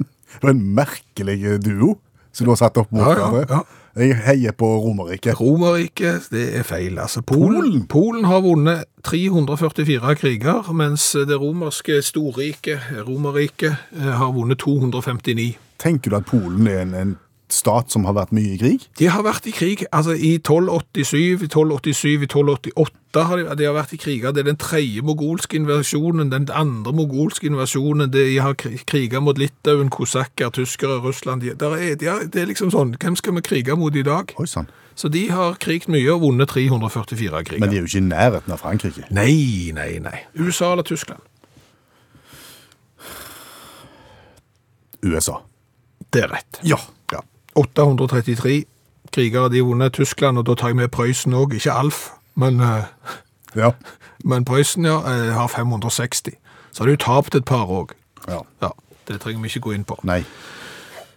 [SPEAKER 3] Det var en merkelig duo som du har satt opp mot
[SPEAKER 2] ja,
[SPEAKER 3] hverandre.
[SPEAKER 2] ja.
[SPEAKER 3] Jeg heier på Romerriket.
[SPEAKER 2] Romerriket, det er feil. Altså, Polen, Polen har vunnet 344 kriger, mens det romerske storriket, Romerriket, eh, har vunnet 259.
[SPEAKER 3] Tenker du at Polen er en, en stat som har vært mye i krig?
[SPEAKER 2] De har vært i krig altså i 1287, i 1287, i 1288 har de, de har vært i kriger. Det er den tredje mogolske invasjonen, den andre mogolske invasjonen. De har kri- kriget mot Litauen, kosakker, tyskere, Russland. De, der er, de har, det er liksom sånn, hvem skal vi krige mot i dag?
[SPEAKER 3] Oi sann.
[SPEAKER 2] Så de har kriget mye og vunnet 344 kriger.
[SPEAKER 3] Men de er jo ikke i nærheten av Frankrike.
[SPEAKER 2] Nei, nei, nei. USA eller Tyskland?
[SPEAKER 3] USA.
[SPEAKER 2] Det er rett.
[SPEAKER 3] Ja. ja.
[SPEAKER 2] 833 krigere de vunnet Tyskland, og da tar jeg med Prøysen òg. Ikke Alf, men, eh,
[SPEAKER 3] Ja.
[SPEAKER 2] men Prøysen ja, eh, har 560. Så har du tapt et par òg.
[SPEAKER 3] ja.
[SPEAKER 2] Ja, det trenger vi ikke gå inn på.
[SPEAKER 3] Nei.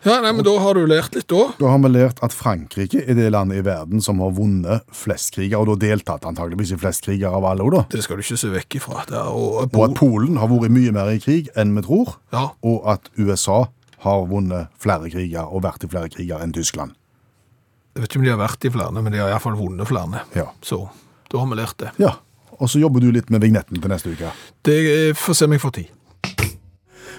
[SPEAKER 2] Ja, nei, men Da har du lært litt, da.
[SPEAKER 3] Da har vi lært at Frankrike er det landet i verden som har vunnet flest kriger, og da deltatt antageligvis i flest kriger av alle, da.
[SPEAKER 2] Det skal du ikke se vekk ifra. Det er, og,
[SPEAKER 3] Og at Polen har vært mye mer i krig enn vi tror,
[SPEAKER 2] Ja.
[SPEAKER 3] og at USA har vunnet flere kriger og vært i flere kriger enn Tyskland.
[SPEAKER 2] jeg vet ikke om de har vært i flere, men de har iallfall vunnet flere.
[SPEAKER 3] Ja.
[SPEAKER 2] Så da har vi lært det.
[SPEAKER 3] Ja, og så jobber du litt med vignetten til neste uke.
[SPEAKER 2] Det eh, får se om jeg får tid.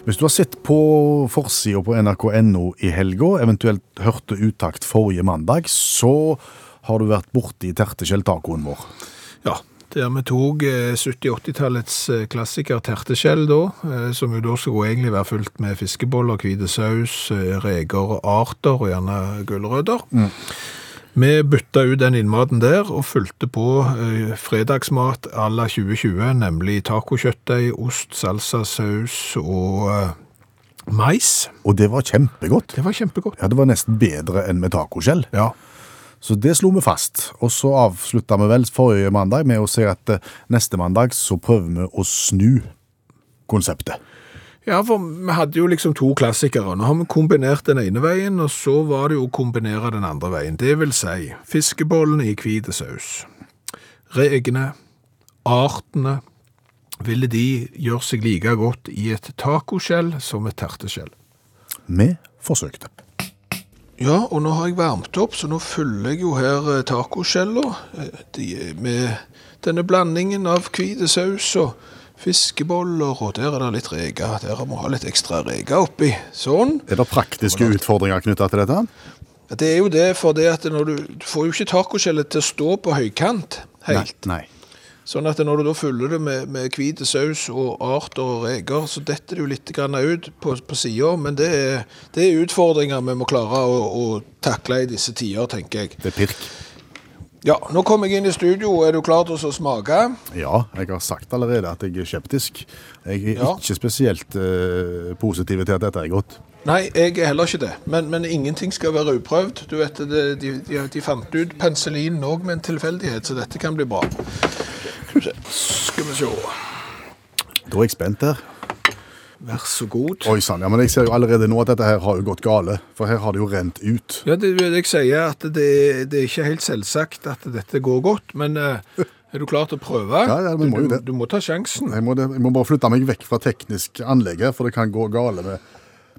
[SPEAKER 3] Hvis du har sett på forsida på nrk.no i helga, eventuelt hørte uttakt forrige mandag, så har du vært borti terteskjelltacoen vår.
[SPEAKER 2] Ja, der vi tok eh, 70-80-tallets eh, klassiker terteskjell da, eh, som jo da skulle egentlig være fylt med fiskeboller, hvite saus, eh, reker og arter og gjerne gulrøtter. Vi bytta ut den innmaten der og fulgte på eh, fredagsmat à la 2020, nemlig tacokjøttdeig, ost, salsa, saus og eh, mais.
[SPEAKER 3] Og det var kjempegodt.
[SPEAKER 2] Det var kjempegodt.
[SPEAKER 3] Ja, Det var nesten bedre enn med tacoskjell.
[SPEAKER 2] Ja.
[SPEAKER 3] Så det slo vi fast. Og så avslutta vi vel forrige mandag med å si at eh, neste mandag så prøver vi å snu konseptet.
[SPEAKER 2] Ja, for vi hadde jo liksom to klassikere. Nå har vi kombinert den ene veien, og så var det jo å kombinere den andre veien. Det vil si fiskebollen i hvite saus. Regene, artene, ville de gjøre seg like godt i et tacoskjell som et terteskjell?
[SPEAKER 3] Vi forsøkte.
[SPEAKER 2] Ja, og nå har jeg varmt opp, så nå fyller jeg jo her eh, tacoskjeller. eh, de- Med denne blandingen av hvite saus og fiskeboller, og der er det litt reker. Der må vi ha litt ekstra reker oppi. Sånn.
[SPEAKER 3] Er det praktiske utfordringer knytta til dette?
[SPEAKER 2] Ja, Det er jo det, for det at når du, du får jo ikke tacoskjellet til å stå på høykant helt.
[SPEAKER 3] Nei.
[SPEAKER 2] Sånn at når du da fyller det med, med hvite saus og arter og reker, så detter det jo litt grann ut på, på sida. Men det er, det er utfordringer vi må klare å, å takle i disse tider, tenker jeg.
[SPEAKER 3] Det er pirk.
[SPEAKER 2] Ja, nå kom jeg inn i studio. Er du klar til å smake?
[SPEAKER 3] Ja, jeg har sagt allerede at jeg er skeptisk. Jeg er
[SPEAKER 2] Ja.
[SPEAKER 3] ikke spesielt eh, positiv til at dette er godt.
[SPEAKER 2] Nei, jeg er heller ikke det. Men, men ingenting skal være uprøvd. Du vet, det, de, de, de fant ut penicillinen òg med en tilfeldighet, så dette kan bli bra. Skal vi se.
[SPEAKER 3] Da er jeg spent her.
[SPEAKER 2] Vær så god.
[SPEAKER 3] Oi sann. Ja, men jeg ser jo allerede nå at dette her har jo gått gale. For her har det jo rent ut.
[SPEAKER 2] Ja, det vil jeg si at det, det er ikke helt selvsagt at dette går godt, men eh, er du klar til å prøve?
[SPEAKER 3] Ja, ja, vi må jo
[SPEAKER 2] du,
[SPEAKER 3] det.
[SPEAKER 2] du, du må ta sjansen.
[SPEAKER 3] Jeg må, jeg må bare flytte meg vekk fra teknisk anlegg her, for det kan gå gale med,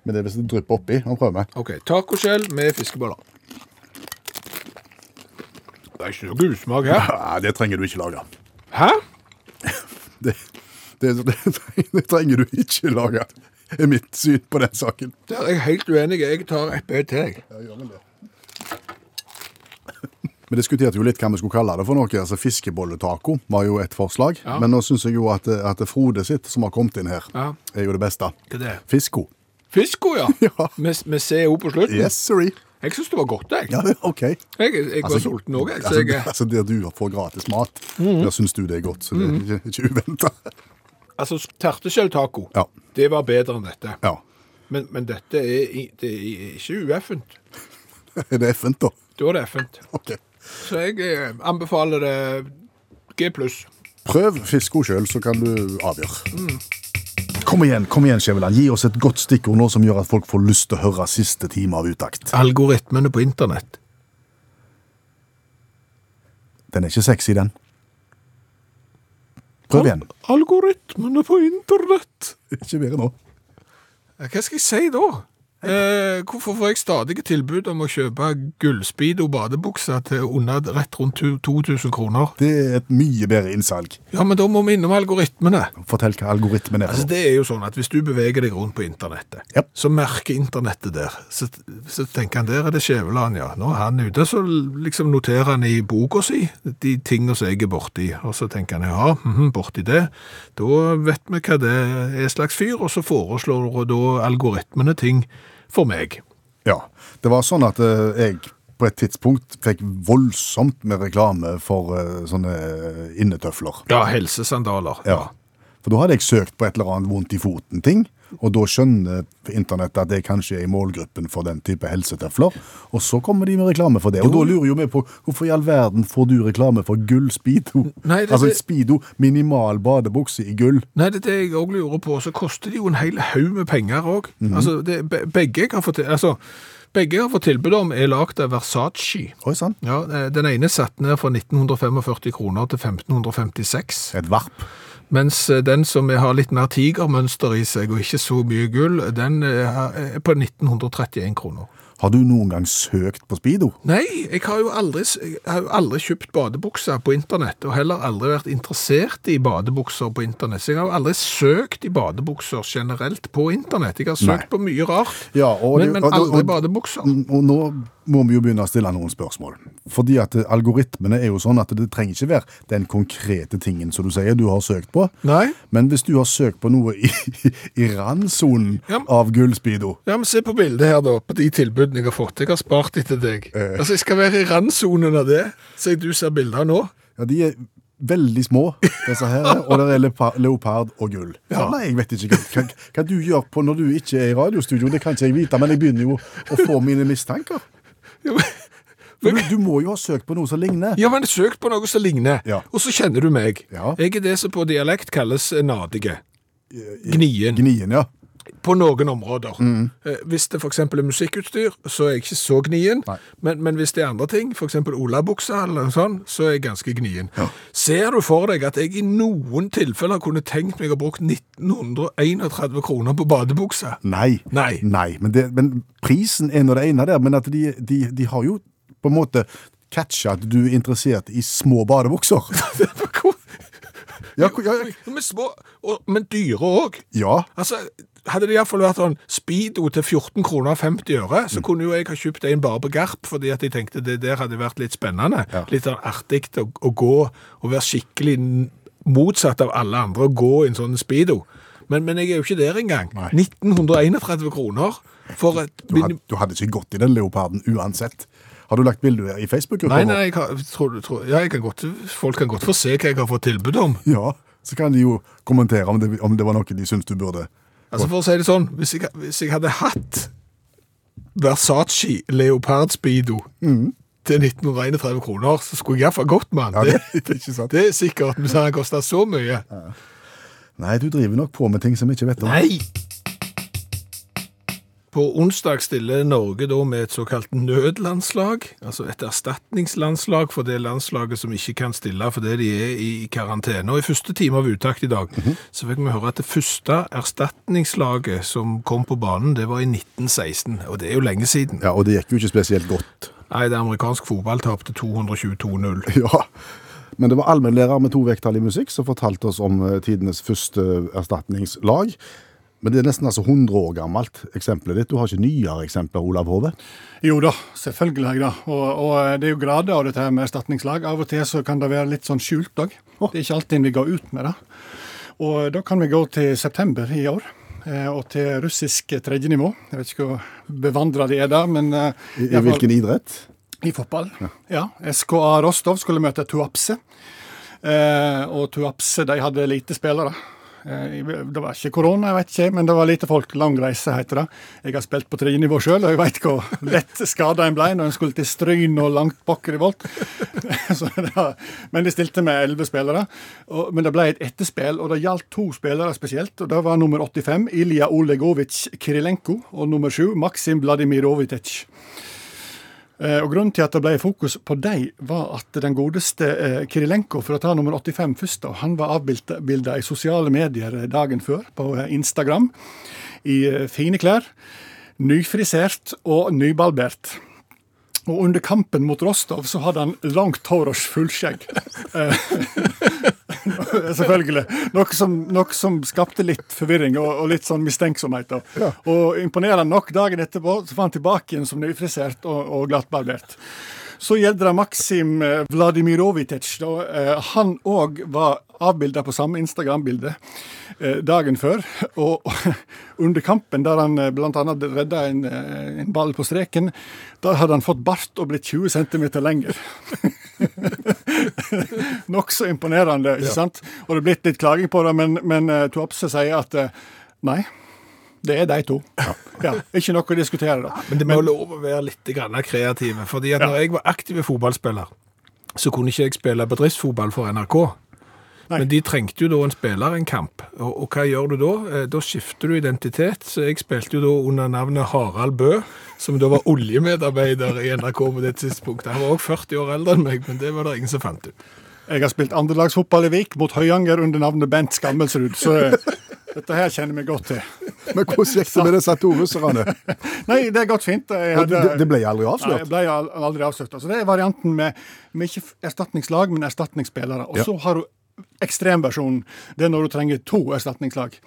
[SPEAKER 3] med det hvis det drypper oppi. Nå prøver vi.
[SPEAKER 2] OK. Tacoskjell med fiskeboller. Det er ikke noe usmak her.
[SPEAKER 3] Nei, det trenger du ikke lage.
[SPEAKER 2] Hæ?
[SPEAKER 3] Det, det, det, det trenger du ikke lage, er mitt syn på den saken.
[SPEAKER 2] Der er jeg helt uenig. Jeg tar et bøt til, jeg.
[SPEAKER 3] Vi diskuterte jo litt hva vi skulle kalle det for noe. altså Fiskebolletaco var jo et forslag. Men nå syns jeg jo at, at Frode sitt, som har kommet inn her,
[SPEAKER 2] Ja.
[SPEAKER 3] er jo det beste.
[SPEAKER 2] Hva er det?
[SPEAKER 3] Fisko.
[SPEAKER 2] Fisko, ja.
[SPEAKER 3] Ja.
[SPEAKER 2] Med, med CO på slutten.
[SPEAKER 3] Yes, sorry.
[SPEAKER 2] Jeg syns det var godt, jeg.
[SPEAKER 3] Ja, det- OK.
[SPEAKER 2] Jeg, jeg var
[SPEAKER 3] Altså,
[SPEAKER 2] sulten òg, jeg. Mhm. Så
[SPEAKER 3] Altså,
[SPEAKER 2] jeg,
[SPEAKER 3] altså, der du får gratis mat, der syns du det er godt. Så det
[SPEAKER 2] Mhm.
[SPEAKER 3] er ikke, ikke uventa.
[SPEAKER 2] altså, terteskjelltaco,
[SPEAKER 3] Ja.
[SPEAKER 2] det var bedre enn dette.
[SPEAKER 3] Ja.
[SPEAKER 2] Men, men dette er, i- det er ikke ueffent.
[SPEAKER 3] Er det FN, da?
[SPEAKER 2] Da er det effent.
[SPEAKER 3] Ok.
[SPEAKER 2] Så jeg eh, anbefaler det G pluss.
[SPEAKER 3] Prøv fisko sjøl, så kan du avgjøre. Mm. Kom igjen, kom igjen, Skjæveland. Gi oss et godt stikkord nå som gjør at folk får lyst til å høre siste time av utakt.
[SPEAKER 2] Algoritmene på internett.
[SPEAKER 3] Den er ikke sexy, den. Prøv igjen.
[SPEAKER 2] Algoritmene på internett.
[SPEAKER 3] Ikke bedre nå.
[SPEAKER 2] Hva skal jeg si da? Eh, hvorfor får jeg stadige tilbud om å kjøpe gullspid og badebukser til under rett rundt tu- 2000 kroner?
[SPEAKER 3] Det er et mye bedre innsalg.
[SPEAKER 2] Ja, men da må vi innom algoritmene.
[SPEAKER 3] Fortell hva algoritmen er.
[SPEAKER 2] Altså,
[SPEAKER 3] for noe.
[SPEAKER 2] det er jo sånn at Hvis du beveger deg rundt på internettet,
[SPEAKER 3] Japp.
[SPEAKER 2] så merker internettet der. Så, så tenker han der er det Skjæveland, ja. Nå er han ute. Så liksom noterer han i boka si de tingene som jeg er borti. Og så tenker han ja, mhm, borti det. Da vet vi hva det er slags fyr, og så foreslår da algoritmene ting for meg.
[SPEAKER 3] Ja. Det var sånn at eh, jeg på et tidspunkt fikk voldsomt med reklame for eh, sånne eh, innetøfler.
[SPEAKER 2] Ja, helsesandaler.
[SPEAKER 3] Ja. For da hadde jeg søkt på et eller annet vondt i foten-ting, og da skjønner internettet at jeg kanskje er i målgruppen for den type helsetøfler, og så kommer de med reklame for det. Og da lurer jo vi på hvorfor i all verden får du reklame for gull speedo?
[SPEAKER 2] Nei, det-
[SPEAKER 3] altså
[SPEAKER 2] det-
[SPEAKER 3] speedo, minimal badebukse i gull.
[SPEAKER 2] Nei, det er det jeg òg lurer på. Så koster det jo en hel haug med penger òg. Altså, det- be- begge jeg har fått til- altså, begge jeg har fått tilbud om, er lagd av Versace.
[SPEAKER 3] Oi sann,
[SPEAKER 2] Ja, eh, Den ene er satt ned fra 1945 kroner til 1556,
[SPEAKER 3] et varp.
[SPEAKER 2] mens eh, den som har litt mer tigermønster i seg og ikke så mye gull, den eh, har- er på 1931 kroner.
[SPEAKER 3] Har du noen gang søkt på speedo?
[SPEAKER 2] Nei, jeg har jo aldri, s- jeg har jo aldri kjøpt badebukser på internett, og heller aldri vært interessert i badebukser på internett. Så jeg har jo aldri søkt i badebukser generelt på internett. Jeg har søkt
[SPEAKER 3] Nei.
[SPEAKER 2] på mye rart,
[SPEAKER 3] Ja, og-
[SPEAKER 2] men, men
[SPEAKER 3] og- og-
[SPEAKER 2] aldri badebukser.
[SPEAKER 3] Mm, Og nå må vi jo begynne å stille noen spørsmål. Fordi at eh, algoritmene er jo sånn at det trenger ikke være den konkrete tingen som du sier du har søkt på.
[SPEAKER 2] Nei.
[SPEAKER 3] Men hvis du har søkt på noe i, i randsonen
[SPEAKER 2] Ja.
[SPEAKER 3] av gullspeedo
[SPEAKER 2] Ja, men Se på bildet her, da, på de tilbudene jeg har fått. Jeg har spart etter deg.
[SPEAKER 3] Eh.
[SPEAKER 2] Altså, Jeg skal være i randsonen av det, som du ser bilder av nå.
[SPEAKER 3] Ja, de er veldig små, disse her. Og der er lepa- leopard og gull. Ja. Nei, jeg vet ikke hva, hva, hva du gjør på når du ikke er i radiostudio. Det kan ikke jeg vite, men jeg begynner jo å få mine mistanker.
[SPEAKER 2] Ja, men-
[SPEAKER 3] Du, du må jo ha søkt på noe som ligner.
[SPEAKER 2] Ja, men søk på noe som ligner,
[SPEAKER 3] Ja.
[SPEAKER 2] og så kjenner du meg.
[SPEAKER 3] Ja.
[SPEAKER 2] Jeg er det som på dialekt kalles nadige. Gnien.
[SPEAKER 3] Gnien, ja.
[SPEAKER 2] På noen områder. Eh, Hvis det f.eks. er musikkutstyr, så er jeg ikke så gnien.
[SPEAKER 3] Nei.
[SPEAKER 2] Men, men hvis det er andre ting, f.eks. olabukse eller noe sånt, så er jeg ganske gnien. Ser du for deg at jeg i noen tilfeller kunne tenkt meg å bruke 1931 kroner på badebukse?
[SPEAKER 3] Nei.
[SPEAKER 2] Nei.
[SPEAKER 3] Men, det, men prisen er nå det ene der, men at de, de, de har jo på en måte catcha at du er interessert i små badebukser.
[SPEAKER 2] Hvor-
[SPEAKER 3] Ja, hvor- ja, ja.
[SPEAKER 2] Men små, og, men dyre òg.
[SPEAKER 3] ja.
[SPEAKER 2] Altså, hadde det iallfall vært sånn Speedo til 14 kroner og 50 øre,
[SPEAKER 3] Mm.
[SPEAKER 2] så kunne jo jeg ha kjøpt en bare på Garp, fordi at jeg tenkte det der hadde vært litt spennende.
[SPEAKER 3] Ja.
[SPEAKER 2] Litt sånn artig å, å gå og være skikkelig n- motsatt av alle andre og gå i en sånn Speedo. Men, men jeg er jo ikke der engang.
[SPEAKER 3] Nei.
[SPEAKER 2] 1931 kroner for et
[SPEAKER 3] Du, had, du hadde ikke gått i den leoparden uansett. Har du lagt bilde i Facebook-gruppa?
[SPEAKER 2] Nei,
[SPEAKER 3] nå?
[SPEAKER 2] nei, jeg har, tror, du- tror, ja, jeg kan godt, folk kan godt få se hva jeg har fått tilbud om.
[SPEAKER 3] Ja, så kan de jo kommentere om det, om det var noe de syntes du burde.
[SPEAKER 2] Altså For å si det sånn, hvis jeg, hvis jeg hadde hatt Versace Leopard Speedo til 1931 kroner, så skulle jeg iallfall gått med den.
[SPEAKER 3] Ja,
[SPEAKER 2] det,
[SPEAKER 3] det er ikke sant.
[SPEAKER 2] det er sikkert, men så har den kosta så mye.
[SPEAKER 3] Nei, du driver nok på med ting som vi ikke vet om.
[SPEAKER 2] Nei! På onsdag stiller Norge da med et såkalt nødlandslag, altså et erstatningslandslag for det landslaget som ikke kan stille fordi de er i karantene. Og i første time av utakt i dag så fikk vi høre at det første erstatningslaget som kom på banen, det var i 1916. Og det er jo lenge siden.
[SPEAKER 3] Ja, og det gikk jo ikke spesielt godt.
[SPEAKER 2] Nei, det amerikanske fotball tapte 222-0.
[SPEAKER 3] Ja, men det var allmennlærer med to vekttall i musikk som fortalte oss om eh, tidenes første erstatningslag. Men det er nesten altså 100 år gammelt, eksempelet ditt. Du har ikke nyere eksempler, Olav Hove?
[SPEAKER 5] Jo da, selvfølgelig har jeg det. Og, og det er jo grader av dette her med erstatningslag. Av og til så kan det være litt sånn skjult òg. Det er ikke alltid vi går ut med det. Og da kan vi gå til september i år. eh, Og til russisk tredje nivå. Jeg vet ikke hvor bevandra de er der, men eh,
[SPEAKER 3] I, i
[SPEAKER 5] i hvert fall-
[SPEAKER 3] hvilken idrett?
[SPEAKER 5] i fotball, ja. SKA Rostov skulle møte Tuapse. Eh, og Tuapse de hadde lite spillere. Eh, det var ikke korona, jeg vet ikke, men det var lite folk. Lang reise, heter det. Jeg har spilt på tredjenivå sjøl, og jeg vet hvor lett skada en ble når en skulle til Stryn og langt bakker i Volt. Så da- men de stilte med elleve spillere. Og, men det ble et etterspill, og det gjaldt to spillere spesielt. og Det var nummer 85 Ilja Olegovic Kirilenko og nummer 7 Maksim Vladimirovic. Eh, Og Grunnen til at det ble fokus på dem, var at den godeste eh, Kirilenko, for å ta nummer 85 først, da, han var avbilda i sosiale medier eh, dagen før, på eh, Instagram, i eh, fine klær. Nyfrisert og nybarbert. Og under kampen mot Rostov så hadde han langt hår og fullskjegg. Eh, Selvfølgelig. Noe som, noe som skapte litt forvirring og, og litt sånn mistenksomhet. da. Og imponerende nok, dagen etterpå så var han tilbake igjen som nyfrisert og, og glattbarbert. Så gjelder det Maksim eh, Vladimirovitic. Da. Eh, Han òg var avbilda på samme Instagram-bilde eh, dagen før. Og under kampen, der han eh, bl.a. redda en, eh, en ball på streken, der hadde han fått bart og blitt 20 cm lenger. Nokså imponerende, ikke sant? Og det er blitt litt klaging på det, men, men eh, Tuapse sier at eh, nei, det er de to. Ja. ikke noe å diskutere, da.
[SPEAKER 2] Men det må jo lov å være litt grann kreative. fordi at når jeg var aktiv fotballspiller, så kunne ikke jeg spille bedriftsfotball for NRK.
[SPEAKER 5] Nei.
[SPEAKER 2] Men de trengte jo da en spiller, en kamp. Og, og hva gjør du da? Eh, Da skifter du identitet. Så jeg spilte jo da under navnet Harald Bø, som da var oljemedarbeider i NRK på det tidspunktet. Han var òg 40 år eldre enn meg, men det var det ingen som fant ut.
[SPEAKER 5] Jeg har spilt andrelagsfotball i Vik mot Høyanger under navnet Bent Skammelsrud, så eh, dette her kjenner vi godt til.
[SPEAKER 3] Men hvordan gikk det med disse to russerne?
[SPEAKER 5] Nei, det er gått fint. Jeg
[SPEAKER 3] Det,
[SPEAKER 5] hadde-
[SPEAKER 3] det ble aldri
[SPEAKER 5] Nei, jeg
[SPEAKER 3] avslørt.
[SPEAKER 5] ble al- aldri avslørt. Altså, det er varianten med, med ikke f- erstatningslag, men erstatningsspillere. Og
[SPEAKER 3] Ja.
[SPEAKER 5] så har du ekstremversjonen. Det er når du trenger to erstatningslag.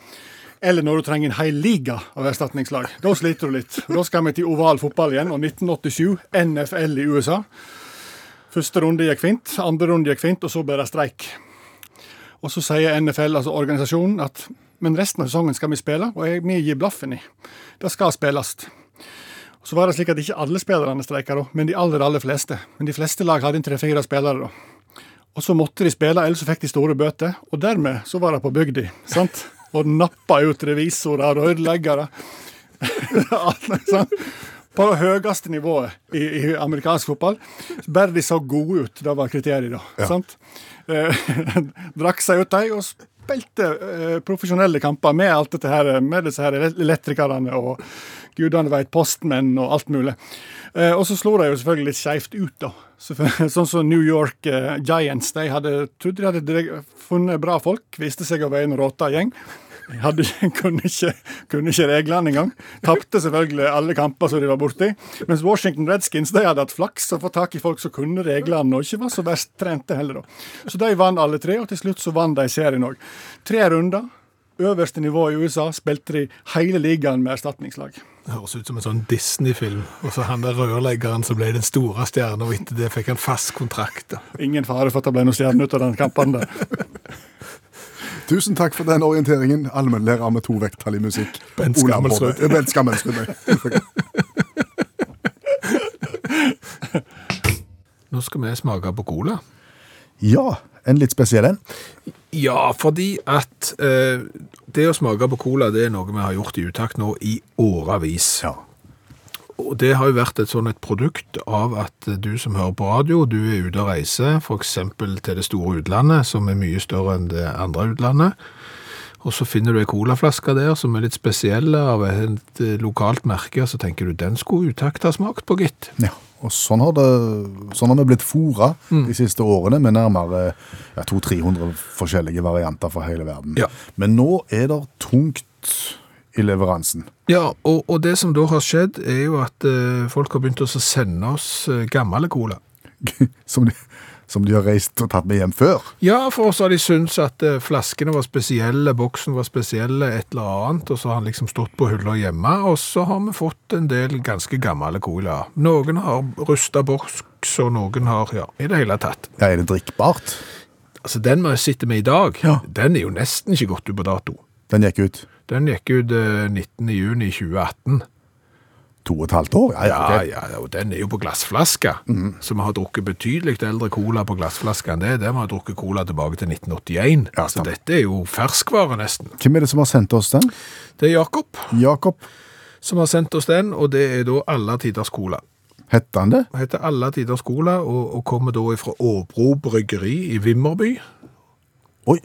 [SPEAKER 5] Eller når du trenger en hel liga av erstatningslag. Da sliter du litt. Da skal vi til oval fotball igjen, og 1987, NFL i USA. Første runde gikk fint, andre runde gikk fint, og så ble det streik. Og så sier NFL, altså organisasjonen, at men resten av sesongen skal vi spille, og jeg- vi gir blaffen i. Det skal spilles. Så var det slik at ikke alle spillerne streika, da, men de aller aller fleste. Men de fleste lag hadde en tre-fire spillere, da. Og så måtte de spille, ellers så fikk de store bøter. Og dermed så var det på bygda, sant? Og nappa ut revisorer og ødeleggere. Alt, sant? På det høyeste nivået i, i amerikansk fotball. Bare de så gode ut, det var kriteriet, da. sant? Eh, Drakk seg ut, de, og spilte eh, profesjonelle kamper med alt dette her, med disse her elektrikerne og gudene veit postmenn og alt mulig. Eh, og så slo de jo selvfølgelig litt skeivt ut, da. Så, sånn som New York eh, Giants. De hadde trodd de hadde direk- funnet bra folk, viste seg å være en råta gjeng. De Hadde, kunne, ikke, kunne ikke reglene engang. Tapte selvfølgelig alle kamper som de var borti. Mens Washington Redskins de hadde hatt flaks og fått tak i folk som kunne reglene og ikke var så verst trente heller. da. Så de vant alle tre, og til slutt så vant de serien òg. Tre runder. Øverste nivå i USA spilte de hele ligaen med erstatningslag.
[SPEAKER 2] Det høres ut som en sånn Disney-film. Og så han der rørleggeren som ble den store stjerna, og etter det fikk han fast kontrakt. da.
[SPEAKER 5] Ingen fare for at det ble noe stjerne ut av den kampen der.
[SPEAKER 3] Tusen takk for den orienteringen, allmennlærer med to vekttall i musikk.
[SPEAKER 2] Bent
[SPEAKER 3] Olav Hove.
[SPEAKER 2] Skammelsrud.
[SPEAKER 3] Eh, Bent Skammelsrud. nei.
[SPEAKER 2] Nå skal vi smake på cola.
[SPEAKER 3] Ja, en litt spesiell en.
[SPEAKER 2] Ja, fordi at eh, det å smake på cola, det er noe vi har gjort i utakt nå i årevis.
[SPEAKER 3] Ja.
[SPEAKER 2] Og det har jo vært et sånn et produkt av at eh, du som hører på radio, du er ute og reiser, f.eks. til det store utlandet, som er mye større enn det andre utlandet. Og så finner du ei colaflaske der som er litt spesiell av et eh, lokalt merke, og så tenker du den skulle utakt ha smakt på, gitt.
[SPEAKER 3] Ja, og sånn har, det, sånn har vi blitt fôra
[SPEAKER 2] Mm.
[SPEAKER 3] de siste årene med nærmere ja, 200-300 forskjellige varianter fra hele verden.
[SPEAKER 2] Ja.
[SPEAKER 3] Men nå er det tungt i leveransen.
[SPEAKER 2] Ja, og, og det som da har skjedd, er jo at eh, folk har begynt å så sende oss eh, gammel cola.
[SPEAKER 3] Som de, som de har reist og tatt med hjem før.
[SPEAKER 2] Ja, for oss har de syntes at eh, flaskene var spesielle, boksen var spesielle, et eller annet, og så har han liksom stått på hylla hjemme, og så har vi fått en del ganske gamle cola. Noen har rusta boks, og noen har, ja, i det hele tatt.
[SPEAKER 3] Ja, Er det drikkbart?
[SPEAKER 2] Altså, den vi sitter med i dag,
[SPEAKER 3] Ja.
[SPEAKER 2] den er jo nesten ikke gått ut på dato.
[SPEAKER 3] Den gikk ut
[SPEAKER 2] Den gikk ut eh, 19. juni 2018.
[SPEAKER 3] to og et halvt år. Ja, Mm. ja,
[SPEAKER 2] Ja,
[SPEAKER 3] ok.
[SPEAKER 2] ja, og den er jo på glassflaske, så vi har drukket betydelig eldre cola på glassflaske enn det. Der vi har drukket cola tilbake til 1981,
[SPEAKER 3] Ja,
[SPEAKER 2] så
[SPEAKER 3] stemmer.
[SPEAKER 2] dette er jo ferskvare nesten.
[SPEAKER 3] Hvem er det som har sendt oss den?
[SPEAKER 2] Det er Jakob
[SPEAKER 3] Jakob?
[SPEAKER 2] som har sendt oss den, og det er da Alle tiders cola.
[SPEAKER 3] Hette han det?
[SPEAKER 2] Den heter Alle tiders cola og, og kommer da fra Åbro bryggeri i Vimmerby.
[SPEAKER 3] Oi,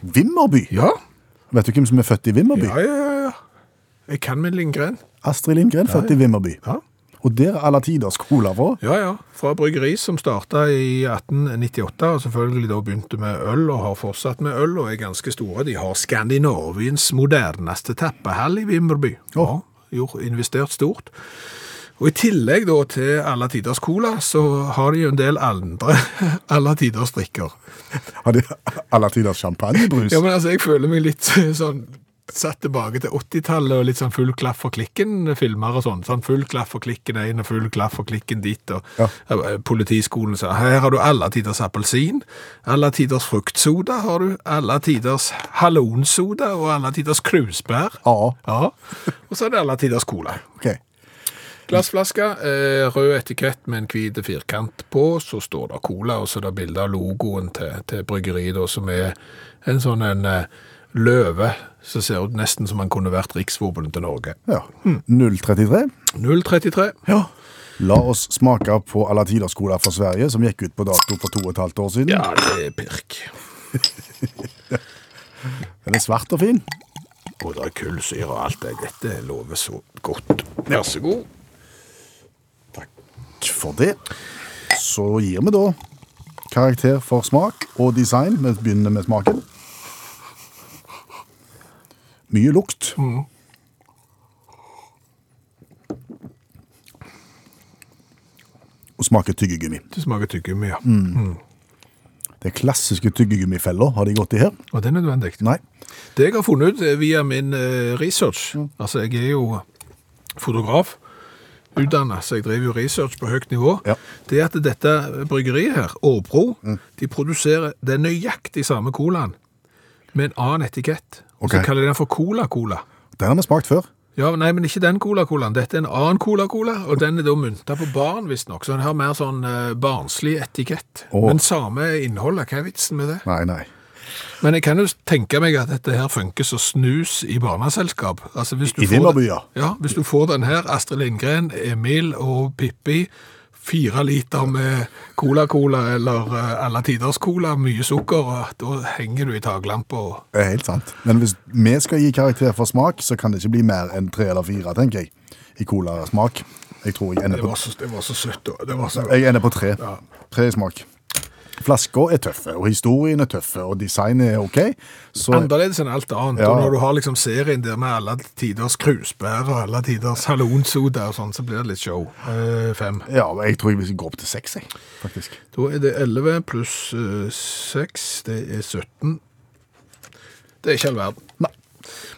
[SPEAKER 3] Vimmerby!
[SPEAKER 2] Ja,
[SPEAKER 3] Vet du hvem som er født i Vimmerby?
[SPEAKER 2] ja, ja. ja, ja. Jeg kan min Lindgren.
[SPEAKER 3] Astrid Lindgren, født i Vimmerby.
[SPEAKER 2] Ja.
[SPEAKER 3] Og der er alle tiders cola fra.
[SPEAKER 2] Ja, ja. Fra bryggeri som starta i 1898, og selvfølgelig da begynte med øl, og har fortsatt med øl, og er ganske store. De har Skandinaviens moderneste tappehall i Vimmerby. Ja, gjort, investert stort. Og i tillegg da til alle tiders cola, så har de jo en del andre alle tiders drikker.
[SPEAKER 3] Har de alle tiders champagnebrus?
[SPEAKER 2] Ja, men altså, jeg føler meg litt sånn satt tilbake til 80-tallet og litt sånn full klaff for klikken-filmer og sånn. Sånn full klaff for klikken inn og full klaff for klikken dit. Og
[SPEAKER 3] Ja.
[SPEAKER 2] Eh, Politiskolen sa her har du alle tiders appelsin, alle tiders fruktsoda har du, alle tiders hallonsoda og alle tiders krusbær.
[SPEAKER 3] Ja.
[SPEAKER 2] Ja. Og så er det alle tiders cola.
[SPEAKER 3] Ok.
[SPEAKER 2] Glassflaske, eh, rød etikett med en hvit firkant på, så står det cola, og så er det bilde av logoen til, til bryggeriet, da, som er en sånn en eh, løve som ser ut nesten som han kunne vært riksvåpenet til Norge.
[SPEAKER 3] Ja. 033.
[SPEAKER 2] 033.
[SPEAKER 3] Ja. La oss smake på alle tiders cola fra Sverige, som gikk ut på dato for to og et halvt år siden.
[SPEAKER 2] Ja, det er pirk.
[SPEAKER 3] Den er svart og fin.
[SPEAKER 2] Og det er kullsyre og alt det. Dette lover så godt. Vær så god.
[SPEAKER 3] For det så gir vi da karakter for smak og design. Vi begynner med smaken. Mye lukt. Og smaker tyggegummi.
[SPEAKER 2] Det smaker tyggegummi, ja.
[SPEAKER 3] Den klassiske tyggegummifeller har de gått i her.
[SPEAKER 2] Og det er nødvendig.
[SPEAKER 3] Nei.
[SPEAKER 2] Det jeg har funnet ut eh, via min eh, research
[SPEAKER 3] Mm.
[SPEAKER 2] Altså, jeg er jo fotograf, utdannet, så jeg driver jo research på høyt nivå.
[SPEAKER 3] Ja. Mm.
[SPEAKER 2] Det at dette bryggeriet her, Årbro, de produserer den nøyaktig samme colaen med en annen etikett. Og Så
[SPEAKER 3] Ok.
[SPEAKER 2] kaller de den for Cola-Cola.
[SPEAKER 3] Den har vi smakt før.
[SPEAKER 2] Ja, Nei, men ikke den Cola-Colaen. Dette er en annen Cola-Cola, og den er da mynta på barn, visstnok. Så den har mer sånn eh, barnslig etikett.
[SPEAKER 3] Å.
[SPEAKER 2] Men samme innholdet. Hva er vitsen med det?
[SPEAKER 3] Nei, nei.
[SPEAKER 2] Men jeg kan jo tenke meg at dette her funker som snus i barneselskap. Altså, hvis du
[SPEAKER 3] I
[SPEAKER 2] får
[SPEAKER 3] Vimmerby,
[SPEAKER 2] den-
[SPEAKER 3] ja.
[SPEAKER 2] Ja, hvis du får den her, Astrid Lindgren, Emil og Pippi, fire liter med cola-cola eller eh, alle tiders cola, mye sukker, og da henger du i taklampa. og-
[SPEAKER 3] Det er helt sant. Men hvis vi skal gi karakter for smak, så kan det ikke bli mer enn tre eller fire, tenker jeg. I colasmak. Jeg tror jeg ender
[SPEAKER 2] Det var
[SPEAKER 3] på,
[SPEAKER 2] så, det var så søtt. og Det var så...
[SPEAKER 3] jeg ender på tre. Tre i smak. Flasker er tøffe, og historien er tøffe, og designet er OK. Så
[SPEAKER 2] Annerledes enn alt annet.
[SPEAKER 3] Ja.
[SPEAKER 2] Og når du har liksom serien der med alle tiders krusbær og alle tiders hallonsoda og sånn, så blir det litt show. Eh, fem.
[SPEAKER 3] ja, jeg tror jeg vil gå opp til seks, jeg. Faktisk.
[SPEAKER 2] Da er det 11 pluss 6, det er 17. Det er ikke all verden.
[SPEAKER 3] Nei.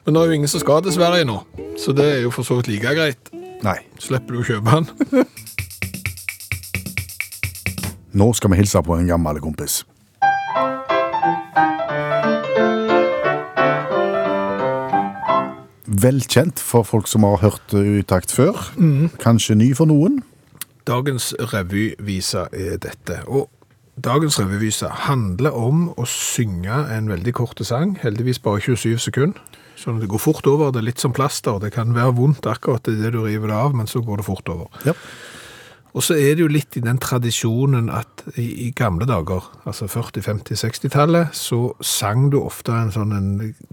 [SPEAKER 2] Men det er jo ingen som skal til Sverige nå, så det er jo for så vidt like greit.
[SPEAKER 3] Nei.
[SPEAKER 2] Slipper du å kjøpe den.
[SPEAKER 3] Nå skal vi hilse på en gammel kompis. Velkjent for folk som har hørt eh, utakt før. Kanskje ny for noen.
[SPEAKER 2] Dagens revyvise er dette. Og dagens revyvise handler om å synge en veldig kort sang, heldigvis bare 27 sekunder. Sånn at det går fort over, det er litt som plaster, det kan være vondt akkurat i det du river det av, men så går det fort over.
[SPEAKER 3] Ja.
[SPEAKER 2] Og så er det jo litt i den tradisjonen at i, i gamle dager, altså 40-, 50-, 60-tallet, så sang du ofte en sånn en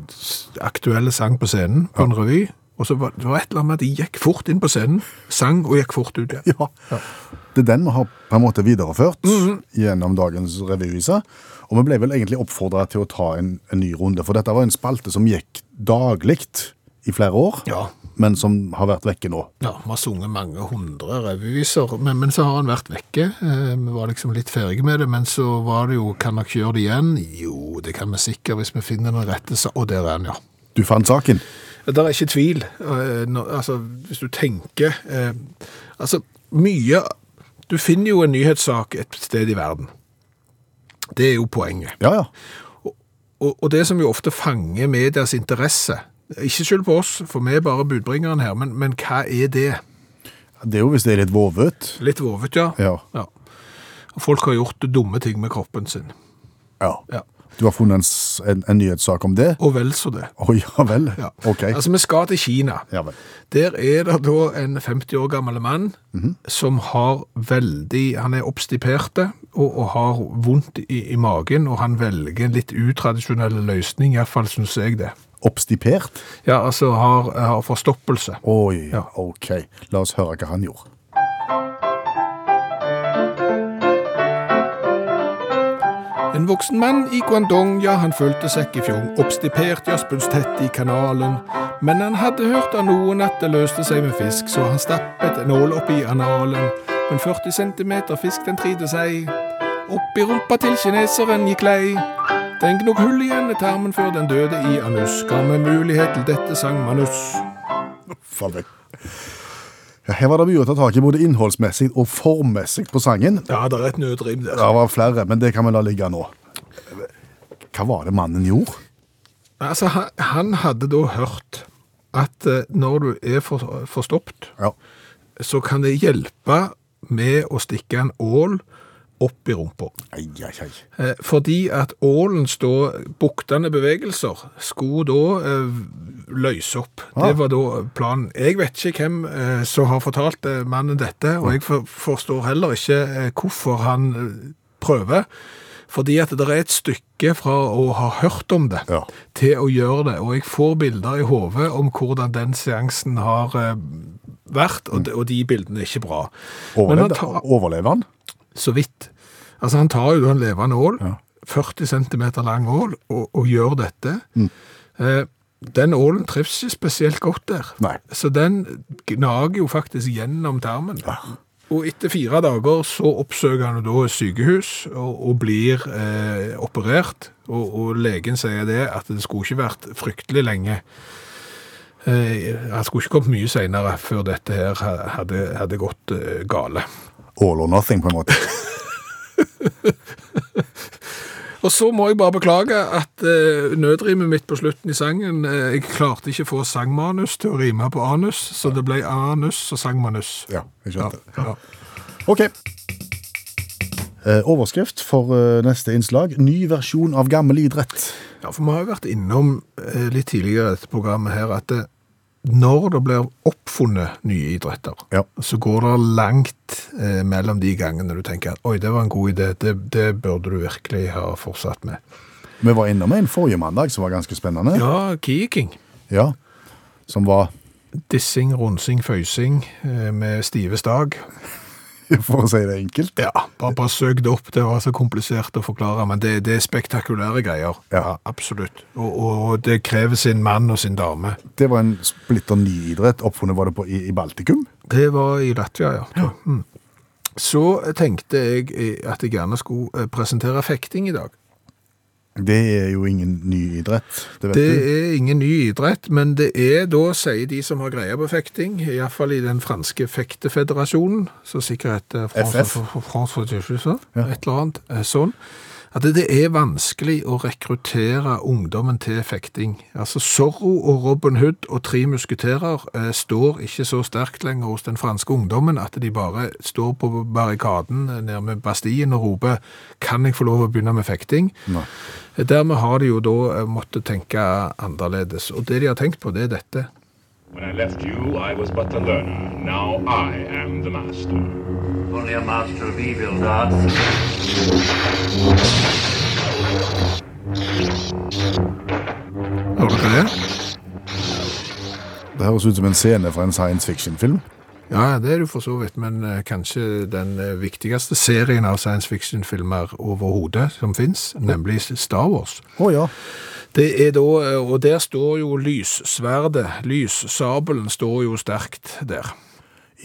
[SPEAKER 2] s- aktuelle sang på scenen på en revy, og så var det var et eller annet med at de gikk fort inn på scenen, sang og gikk fort ut igjen.
[SPEAKER 3] Ja. Mhm. Det er den vi har på en måte videreført gjennom dagens revyvise. Og vi ble vel egentlig oppfordra til å ta en, en ny runde, for dette var en spalte som gikk daglig i flere år,
[SPEAKER 2] Ja.
[SPEAKER 3] men som har vært vekke nå.
[SPEAKER 2] Ja, vi har sunget mange hundre revyviser, men, men så har han vært vekke. Eh, Vi var liksom litt ferdige med det, men så var det jo, kan dere gjøre det igjen? Jo, det kan vi sikkert hvis vi finner den rette, sa- og der er han, ja.
[SPEAKER 3] Du fant saken.
[SPEAKER 2] Det er ikke tvil. eh, nå- altså, hvis du tenker eh, Altså, mye Du finner jo en nyhetssak et sted i verden. Det er jo poenget.
[SPEAKER 3] Ja, ja.
[SPEAKER 2] Og, og det som jo ofte fanger medias interesse Ikke skyld på oss, for vi er bare budbringeren her, men, men hva er det?
[SPEAKER 3] Det er jo hvis det er litt vovet.
[SPEAKER 2] Litt vovet, ja.
[SPEAKER 3] Ja.
[SPEAKER 2] Og Folk har gjort dumme ting med kroppen sin.
[SPEAKER 3] Ja.
[SPEAKER 2] Ja.
[SPEAKER 3] Du har funnet en, s- en, en nyhetssak om det?
[SPEAKER 2] Og vel så det.
[SPEAKER 3] Å ja vel.
[SPEAKER 2] Ja.
[SPEAKER 3] Ok.
[SPEAKER 2] Altså, vi skal til Kina.
[SPEAKER 3] ja vel.
[SPEAKER 2] Der er det da en 50 år gammel mann
[SPEAKER 3] Mhm.
[SPEAKER 2] som har veldig Han er obstiperte og, og har vondt i, i magen, og han velger en litt utradisjonell løsning, iallfall syns jeg det.
[SPEAKER 3] Obstipert?
[SPEAKER 2] Ja, altså har, har forstoppelse.
[SPEAKER 3] Oi,
[SPEAKER 2] Ja.
[SPEAKER 3] ok. La oss høre hva han gjorde.
[SPEAKER 2] En voksen mann i Guangdong, ja, han følte sekk i fjong. Obstipert, ja, spunstett i kanalen. Men han hadde hørt av noen at det løste seg med fisk, så han stappet en nål oppi analen. Men 40 centimeter fisk den tride seg. Oppi rumpa til kineseren gikk lei. Den gnok hull i endetarmen før den døde i anus. Ga med mulighet til dette sang Manus.
[SPEAKER 3] Faen meg. Ja, her var det mye å ta tak i, både innholdsmessig og formmessig på sangen.
[SPEAKER 2] Ja, det er et nødrim der.
[SPEAKER 3] Det var flere, men det kan vi la ligge nå. Hva var det mannen gjorde?
[SPEAKER 2] Altså, han, han hadde da hørt at eh, når du er for, forstoppet,
[SPEAKER 3] Ja.
[SPEAKER 2] så kan det hjelpe med å stikke en ål opp i rumpa.
[SPEAKER 3] Ei, ei, ei.
[SPEAKER 2] Eh, Fordi at ålens da buktende bevegelser skulle da eh, løse opp. Det var da planen. Jeg vet ikke hvem eh, som har fortalt eh, mannen dette, og jeg for, forstår heller ikke eh, hvorfor han eh, prøver. Fordi at det er et stykke fra å ha hørt om det
[SPEAKER 3] Ja.
[SPEAKER 2] til å gjøre det, og jeg får bilder i hodet om hvordan den seansen har eh, vært, og de, og de bildene er ikke bra. Men han
[SPEAKER 3] Overlevde
[SPEAKER 2] tar-
[SPEAKER 3] overlevde han?
[SPEAKER 2] så vidt. Altså Han tar jo da en levende ål, 40 cm lang ål, og, og gjør dette. Eh, den ålen trivs ikke spesielt godt der,
[SPEAKER 3] Nei.
[SPEAKER 2] så den gnager jo faktisk gjennom tarmen. Og etter fire dager så oppsøker han jo da sykehus og, og blir eh, operert. Og, og legen sier det at det skulle ikke vært fryktelig lenge. Eh, han skulle ikke kommet mye seinere før dette her ha- hadde, hadde gått eh, gale.
[SPEAKER 3] All or nothing, på en måte.
[SPEAKER 2] Og så må jeg bare beklage at eh, nødrimet mitt på slutten i sangen eh, Jeg klarte ikke å få sangmanus til å rime på anus, så det ble anus og sangmanus.
[SPEAKER 3] Ja, jeg skjønte.
[SPEAKER 2] Ja.
[SPEAKER 3] Ok. Eh, overskrift for eh, neste innslag. Ny versjon av gammel idrett.
[SPEAKER 2] ja, for vi har jo vært innom eh, litt tidligere i dette programmet her at det, når det blir oppfunnet nye idretter,
[SPEAKER 3] Ja.
[SPEAKER 2] så går det langt eh, mellom de gangene du tenker at oi, det var en god idé, det, det burde du virkelig ha fortsatt med.
[SPEAKER 3] Vi var innom en forrige mandag som var ganske spennende.
[SPEAKER 2] Ja, Kiking.
[SPEAKER 3] Ja. Som var,
[SPEAKER 2] Dissing, ronsing, føysing eh, med stive stag.
[SPEAKER 3] for å si det enkelt
[SPEAKER 2] Ja, bare, bare søk det opp. Det var så komplisert å forklare, men det, det er spektakulære greier.
[SPEAKER 3] Ja.
[SPEAKER 2] Absolutt. Og, og det krever sin mann og sin dame.
[SPEAKER 3] Det var en splitter ny idrett. Oppfunnet var det på, i, i Baltikum.
[SPEAKER 2] Det var i Latvia, ja. Mm. Så tenkte jeg eh, at jeg gjerne skulle eh, presentere fekting i dag.
[SPEAKER 3] Det er jo ingen ny idrett. Det vet
[SPEAKER 2] Det
[SPEAKER 3] du.
[SPEAKER 2] er ingen ny idrett, men det er da, sier de som har greie på fekting, iallfall i den franske fektefederasjonen, så sikkert eh, heter France-
[SPEAKER 3] FF.
[SPEAKER 2] F- France Fédération, så, et eller annet eh, sånn, at det- det er vanskelig å rekruttere ungdommen til fekting. Altså Zorro og Robin Hood og Tre musketerer eh, står ikke så sterkt lenger hos den franske ungdommen at de bare står på barrikaden eh, nede med Bastien og roper «Kan jeg få lov å begynne med fekting?» Eh, Dermed har de jo da eh, måttet tenke annerledes. Og det de har tenkt på, det er dette.
[SPEAKER 7] When I left you, I was but a learner. Now I am the master.
[SPEAKER 8] Only a master of evil arts.
[SPEAKER 2] Hører dere det?
[SPEAKER 3] Det høres ut som en scene fra en science fiction-film.
[SPEAKER 2] Ja, det er du for så vidt, men eh, kanskje den eh, viktigste serien av science fiction-filmer overhodet som fins, nemlig Star Wars.
[SPEAKER 3] Å ja.
[SPEAKER 2] Det er da, eh, og der står jo lyssverdet, lyssabelen står jo sterkt der.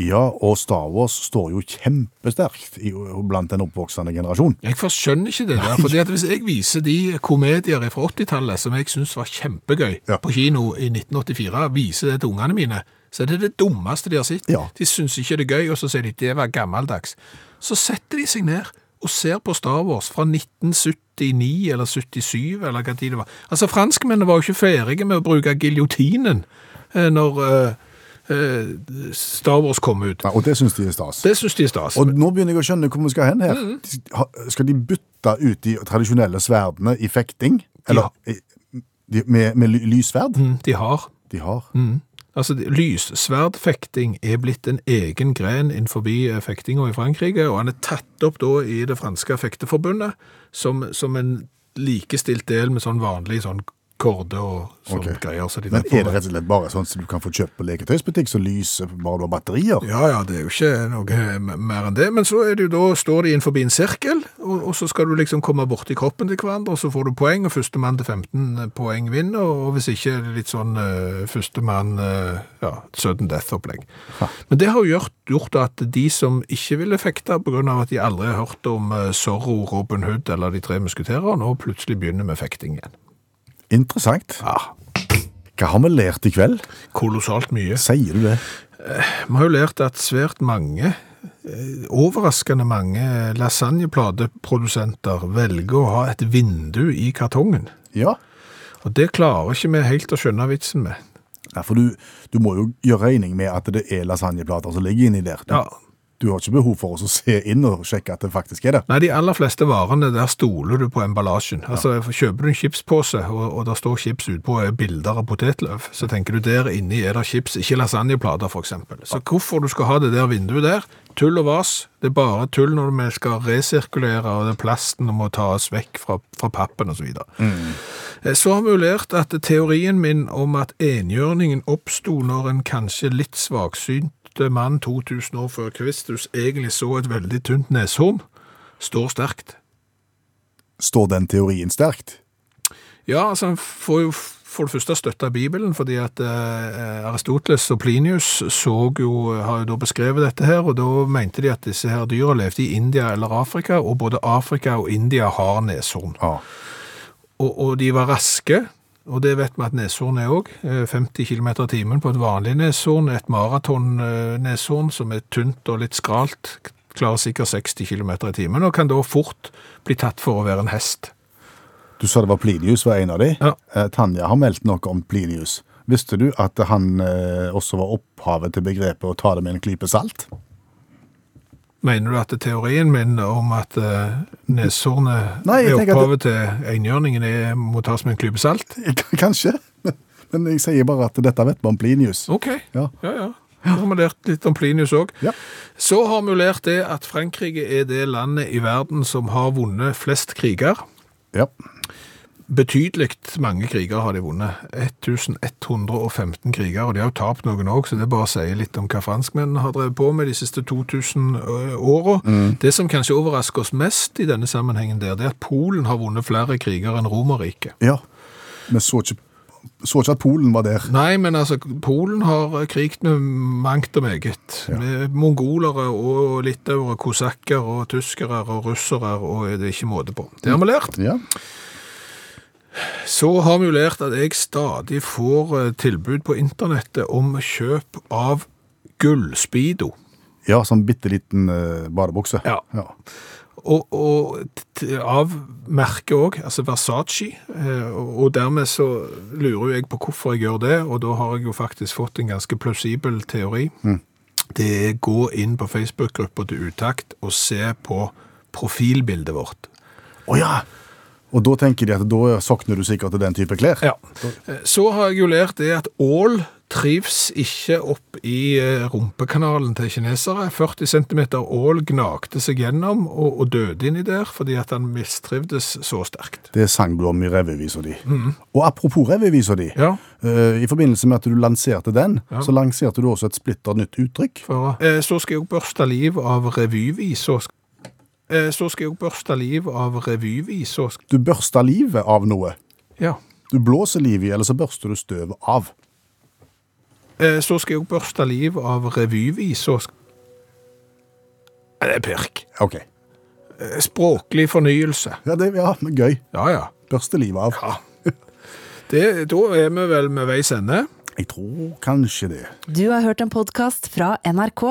[SPEAKER 3] Ja, og Star Wars står jo kjempesterkt i, blant den oppvoksende generasjon.
[SPEAKER 2] Jeg forskjønner ikke det der, fordi at hvis jeg viser de komedier fra 80-tallet som jeg syns var kjempegøy
[SPEAKER 3] Ja.
[SPEAKER 2] på kino i 1984, viser det til ungene mine, så er det det dummeste de har sett.
[SPEAKER 3] Ja.
[SPEAKER 2] De syns ikke det er gøy, og så sier de det var gammeldags. Så setter de seg ned og ser på Star Wars fra 1979 eller 77 eller hva tid det var. Altså, franskmennene var jo ikke ferdige med å bruke giljotinen eh, når eh, eh, Star Wars kom ut.
[SPEAKER 3] Nei, og det syns de er stas.
[SPEAKER 2] Det Mm. syns de er stas.
[SPEAKER 3] Og nå begynner jeg å skjønne hvor vi skal hen her. De- ha- Skal de bytte ut de tradisjonelle sverdene i fekting? Eller i- de, med, med ly- lyssverd?
[SPEAKER 2] de har
[SPEAKER 3] De har.
[SPEAKER 2] Altså, det- Lyssverdfekting er blitt en egen gren innenfor fektinga i Frankrike, og han er tatt opp da i det franske fekteforbundet som, som en likestilt del med sånn vanlig sånn korde og sånn
[SPEAKER 3] Ok.
[SPEAKER 2] greier. Så de
[SPEAKER 3] Men
[SPEAKER 2] der får
[SPEAKER 3] er det
[SPEAKER 2] med.
[SPEAKER 3] rett og slett bare sånn som du kan få kjøpt på leketøysbutikk, som lyser bare du har batterier?
[SPEAKER 2] Ja, ja, det er jo ikke noe m- mer enn det. Men så er det jo da, står de innenfor en sirkel, Og, og så skal du liksom komme borti kroppen til hverandre, og så får du poeng, og førstemann til 15 poeng vinner, og hvis ikke litt sånn eh, førstemann eh, ja, sudden death-opplegg. Men det har jo gjort, gjort at de som ikke ville fekte, på grunn av at de aldri har hørt om eh, Zorro, Robin Hood eller De tre musketerer, nå plutselig begynner med fekting igjen.
[SPEAKER 3] Interessant.
[SPEAKER 2] Ja,
[SPEAKER 3] Hva har vi lært i kveld?
[SPEAKER 2] kolossalt mye.
[SPEAKER 3] Sier du det?
[SPEAKER 2] Vi har jo lært at svært mange, eh, overraskende mange lasagneplateprodusenter velger å ha et vindu i kartongen.
[SPEAKER 3] Ja.
[SPEAKER 2] Og det klarer ikke vi helt å skjønne vitsen med.
[SPEAKER 3] ja for du, du må jo gjøre regning med at det er lasagneplater som ligger inni der. Du,
[SPEAKER 2] Ja.
[SPEAKER 3] du har ikke behov for å se inn og sjekke at det faktisk er det.
[SPEAKER 2] Nei, de aller fleste varene, der stoler du på emballasjen. Altså, kjøper du en chipspose, og, og der står chips utpå er bilder av potetløv, så tenker du der inni er det chips, ikke lasagneplater for eksempel. Så hvorfor du skal ha det der vinduet der, tull og vas, det er bare tull når vi skal resirkulere, og det er plasten må tas vekk fra, fra pappen og så videre. Eh, Så har vi jo lært at teorien min om at engjørningen oppsto når en kanskje litt svaksynt mann 2000 år før Kristus egentlig så et veldig tynt neshorn, står sterkt.
[SPEAKER 3] Står den teorien sterkt?
[SPEAKER 2] Ja, altså han får jo for det første støtte av Bibelen, fordi at eh, Aristoteles og Plinius så jo, har jo da beskrevet dette her, og da mente de at disse her dyra levde i India eller Afrika, og både Afrika og India har neshorn.
[SPEAKER 3] Ja.
[SPEAKER 2] Og, og de var raske, og det vet vi at neshorn er òg. 50 km i timen på et vanlig neshorn. Et maraton-neshorn som er tynt og litt skralt, klarer sikkert 60 km i timen, og kan da fort bli tatt for å være en hest.
[SPEAKER 3] Du sa det var Plinius var en av de.
[SPEAKER 2] Ja.
[SPEAKER 3] Eh, Tanja har meldt noe om Plinius. Visste du at han eh, også var opphavet til begrepet å ta det med en klype salt?
[SPEAKER 2] Mener du at teorien min om at eh, neshornet
[SPEAKER 3] Nei, jeg
[SPEAKER 2] er
[SPEAKER 3] tenker at
[SPEAKER 2] opphavet til enhjørningen, er- må tas med en klype salt?
[SPEAKER 3] K- Kanskje. Men jeg sier bare at dette vet man om Plinius.
[SPEAKER 2] OK.
[SPEAKER 3] Ja.
[SPEAKER 2] ja. ja. Da har vi lært litt om Plinius òg.
[SPEAKER 3] Ja.
[SPEAKER 2] Så har vi lært det at Frankrike er det landet i verden som har vunnet flest kriger.
[SPEAKER 3] Ja.
[SPEAKER 2] Betydelig mange kriger har de vunnet. 1115 kriger, og de har jo tapt noen òg, så det bare sier litt om hva franskmennene har drevet på med de siste 2000 ø, åra. Det som kanskje overrasker oss mest i denne sammenhengen, der, det er at Polen har vunnet flere kriger enn Romerriket.
[SPEAKER 3] ja. Men så ikke, så ikke at Polen var der.
[SPEAKER 2] Nei, men altså, Polen har kriget med mangt og meget. Med mongolere og litauere, kosakker og tyskere og russere, og det er ikke måte på. Det har vi lært.
[SPEAKER 3] Ja.
[SPEAKER 2] Så har vi jo lært at jeg stadig får eh, tilbud på internettet om kjøp av gullspido.
[SPEAKER 3] ja, sånn bitte liten eh, badebukse.
[SPEAKER 2] Ja. Og, og t- av merket òg, altså Versace. eh, og- Og dermed så lurer jo jeg på hvorfor jeg gjør det, og da har jeg jo faktisk fått en ganske plausibel teori. Det er gå inn på Facebook-gruppa til Utakt og se på profilbildet vårt.
[SPEAKER 3] Å ja! Og da tenker de at da sokner du sikkert til den type klær.
[SPEAKER 2] Ja. Så har jeg jo lært det at ål trivs ikke opp i eh, rumpekanalen til kinesere. 40 cm ål gnagte seg gjennom og, og døde inni der fordi at han mistrivdes så sterkt.
[SPEAKER 3] Det sang du om i revyvisa di. Og apropos revyvisa di.
[SPEAKER 2] Mhm. Ja.
[SPEAKER 3] eh, I forbindelse med at du lanserte den, så lanserte du også et splitter nytt uttrykk.
[SPEAKER 2] For, eh, så skal jeg børste liv av revyvisa. Eh, Så skal jeg børste liv av revyvisa.
[SPEAKER 3] Du børster livet av noe.
[SPEAKER 2] Ja.
[SPEAKER 3] Du blåser livet i, eller så børster du støvet av.
[SPEAKER 2] Eh, Så skal jeg børste liv av revyvisa. Nei, Det er pirk.
[SPEAKER 3] Ok.
[SPEAKER 2] Eh, Språklig fornyelse.
[SPEAKER 3] Ja, det ja, men gøy.
[SPEAKER 2] Ja, ja.
[SPEAKER 3] Børste livet av.
[SPEAKER 2] Det, da er vi vel med veis ende.
[SPEAKER 3] Jeg tror kanskje det.
[SPEAKER 1] Du har hørt en podkast fra NRK.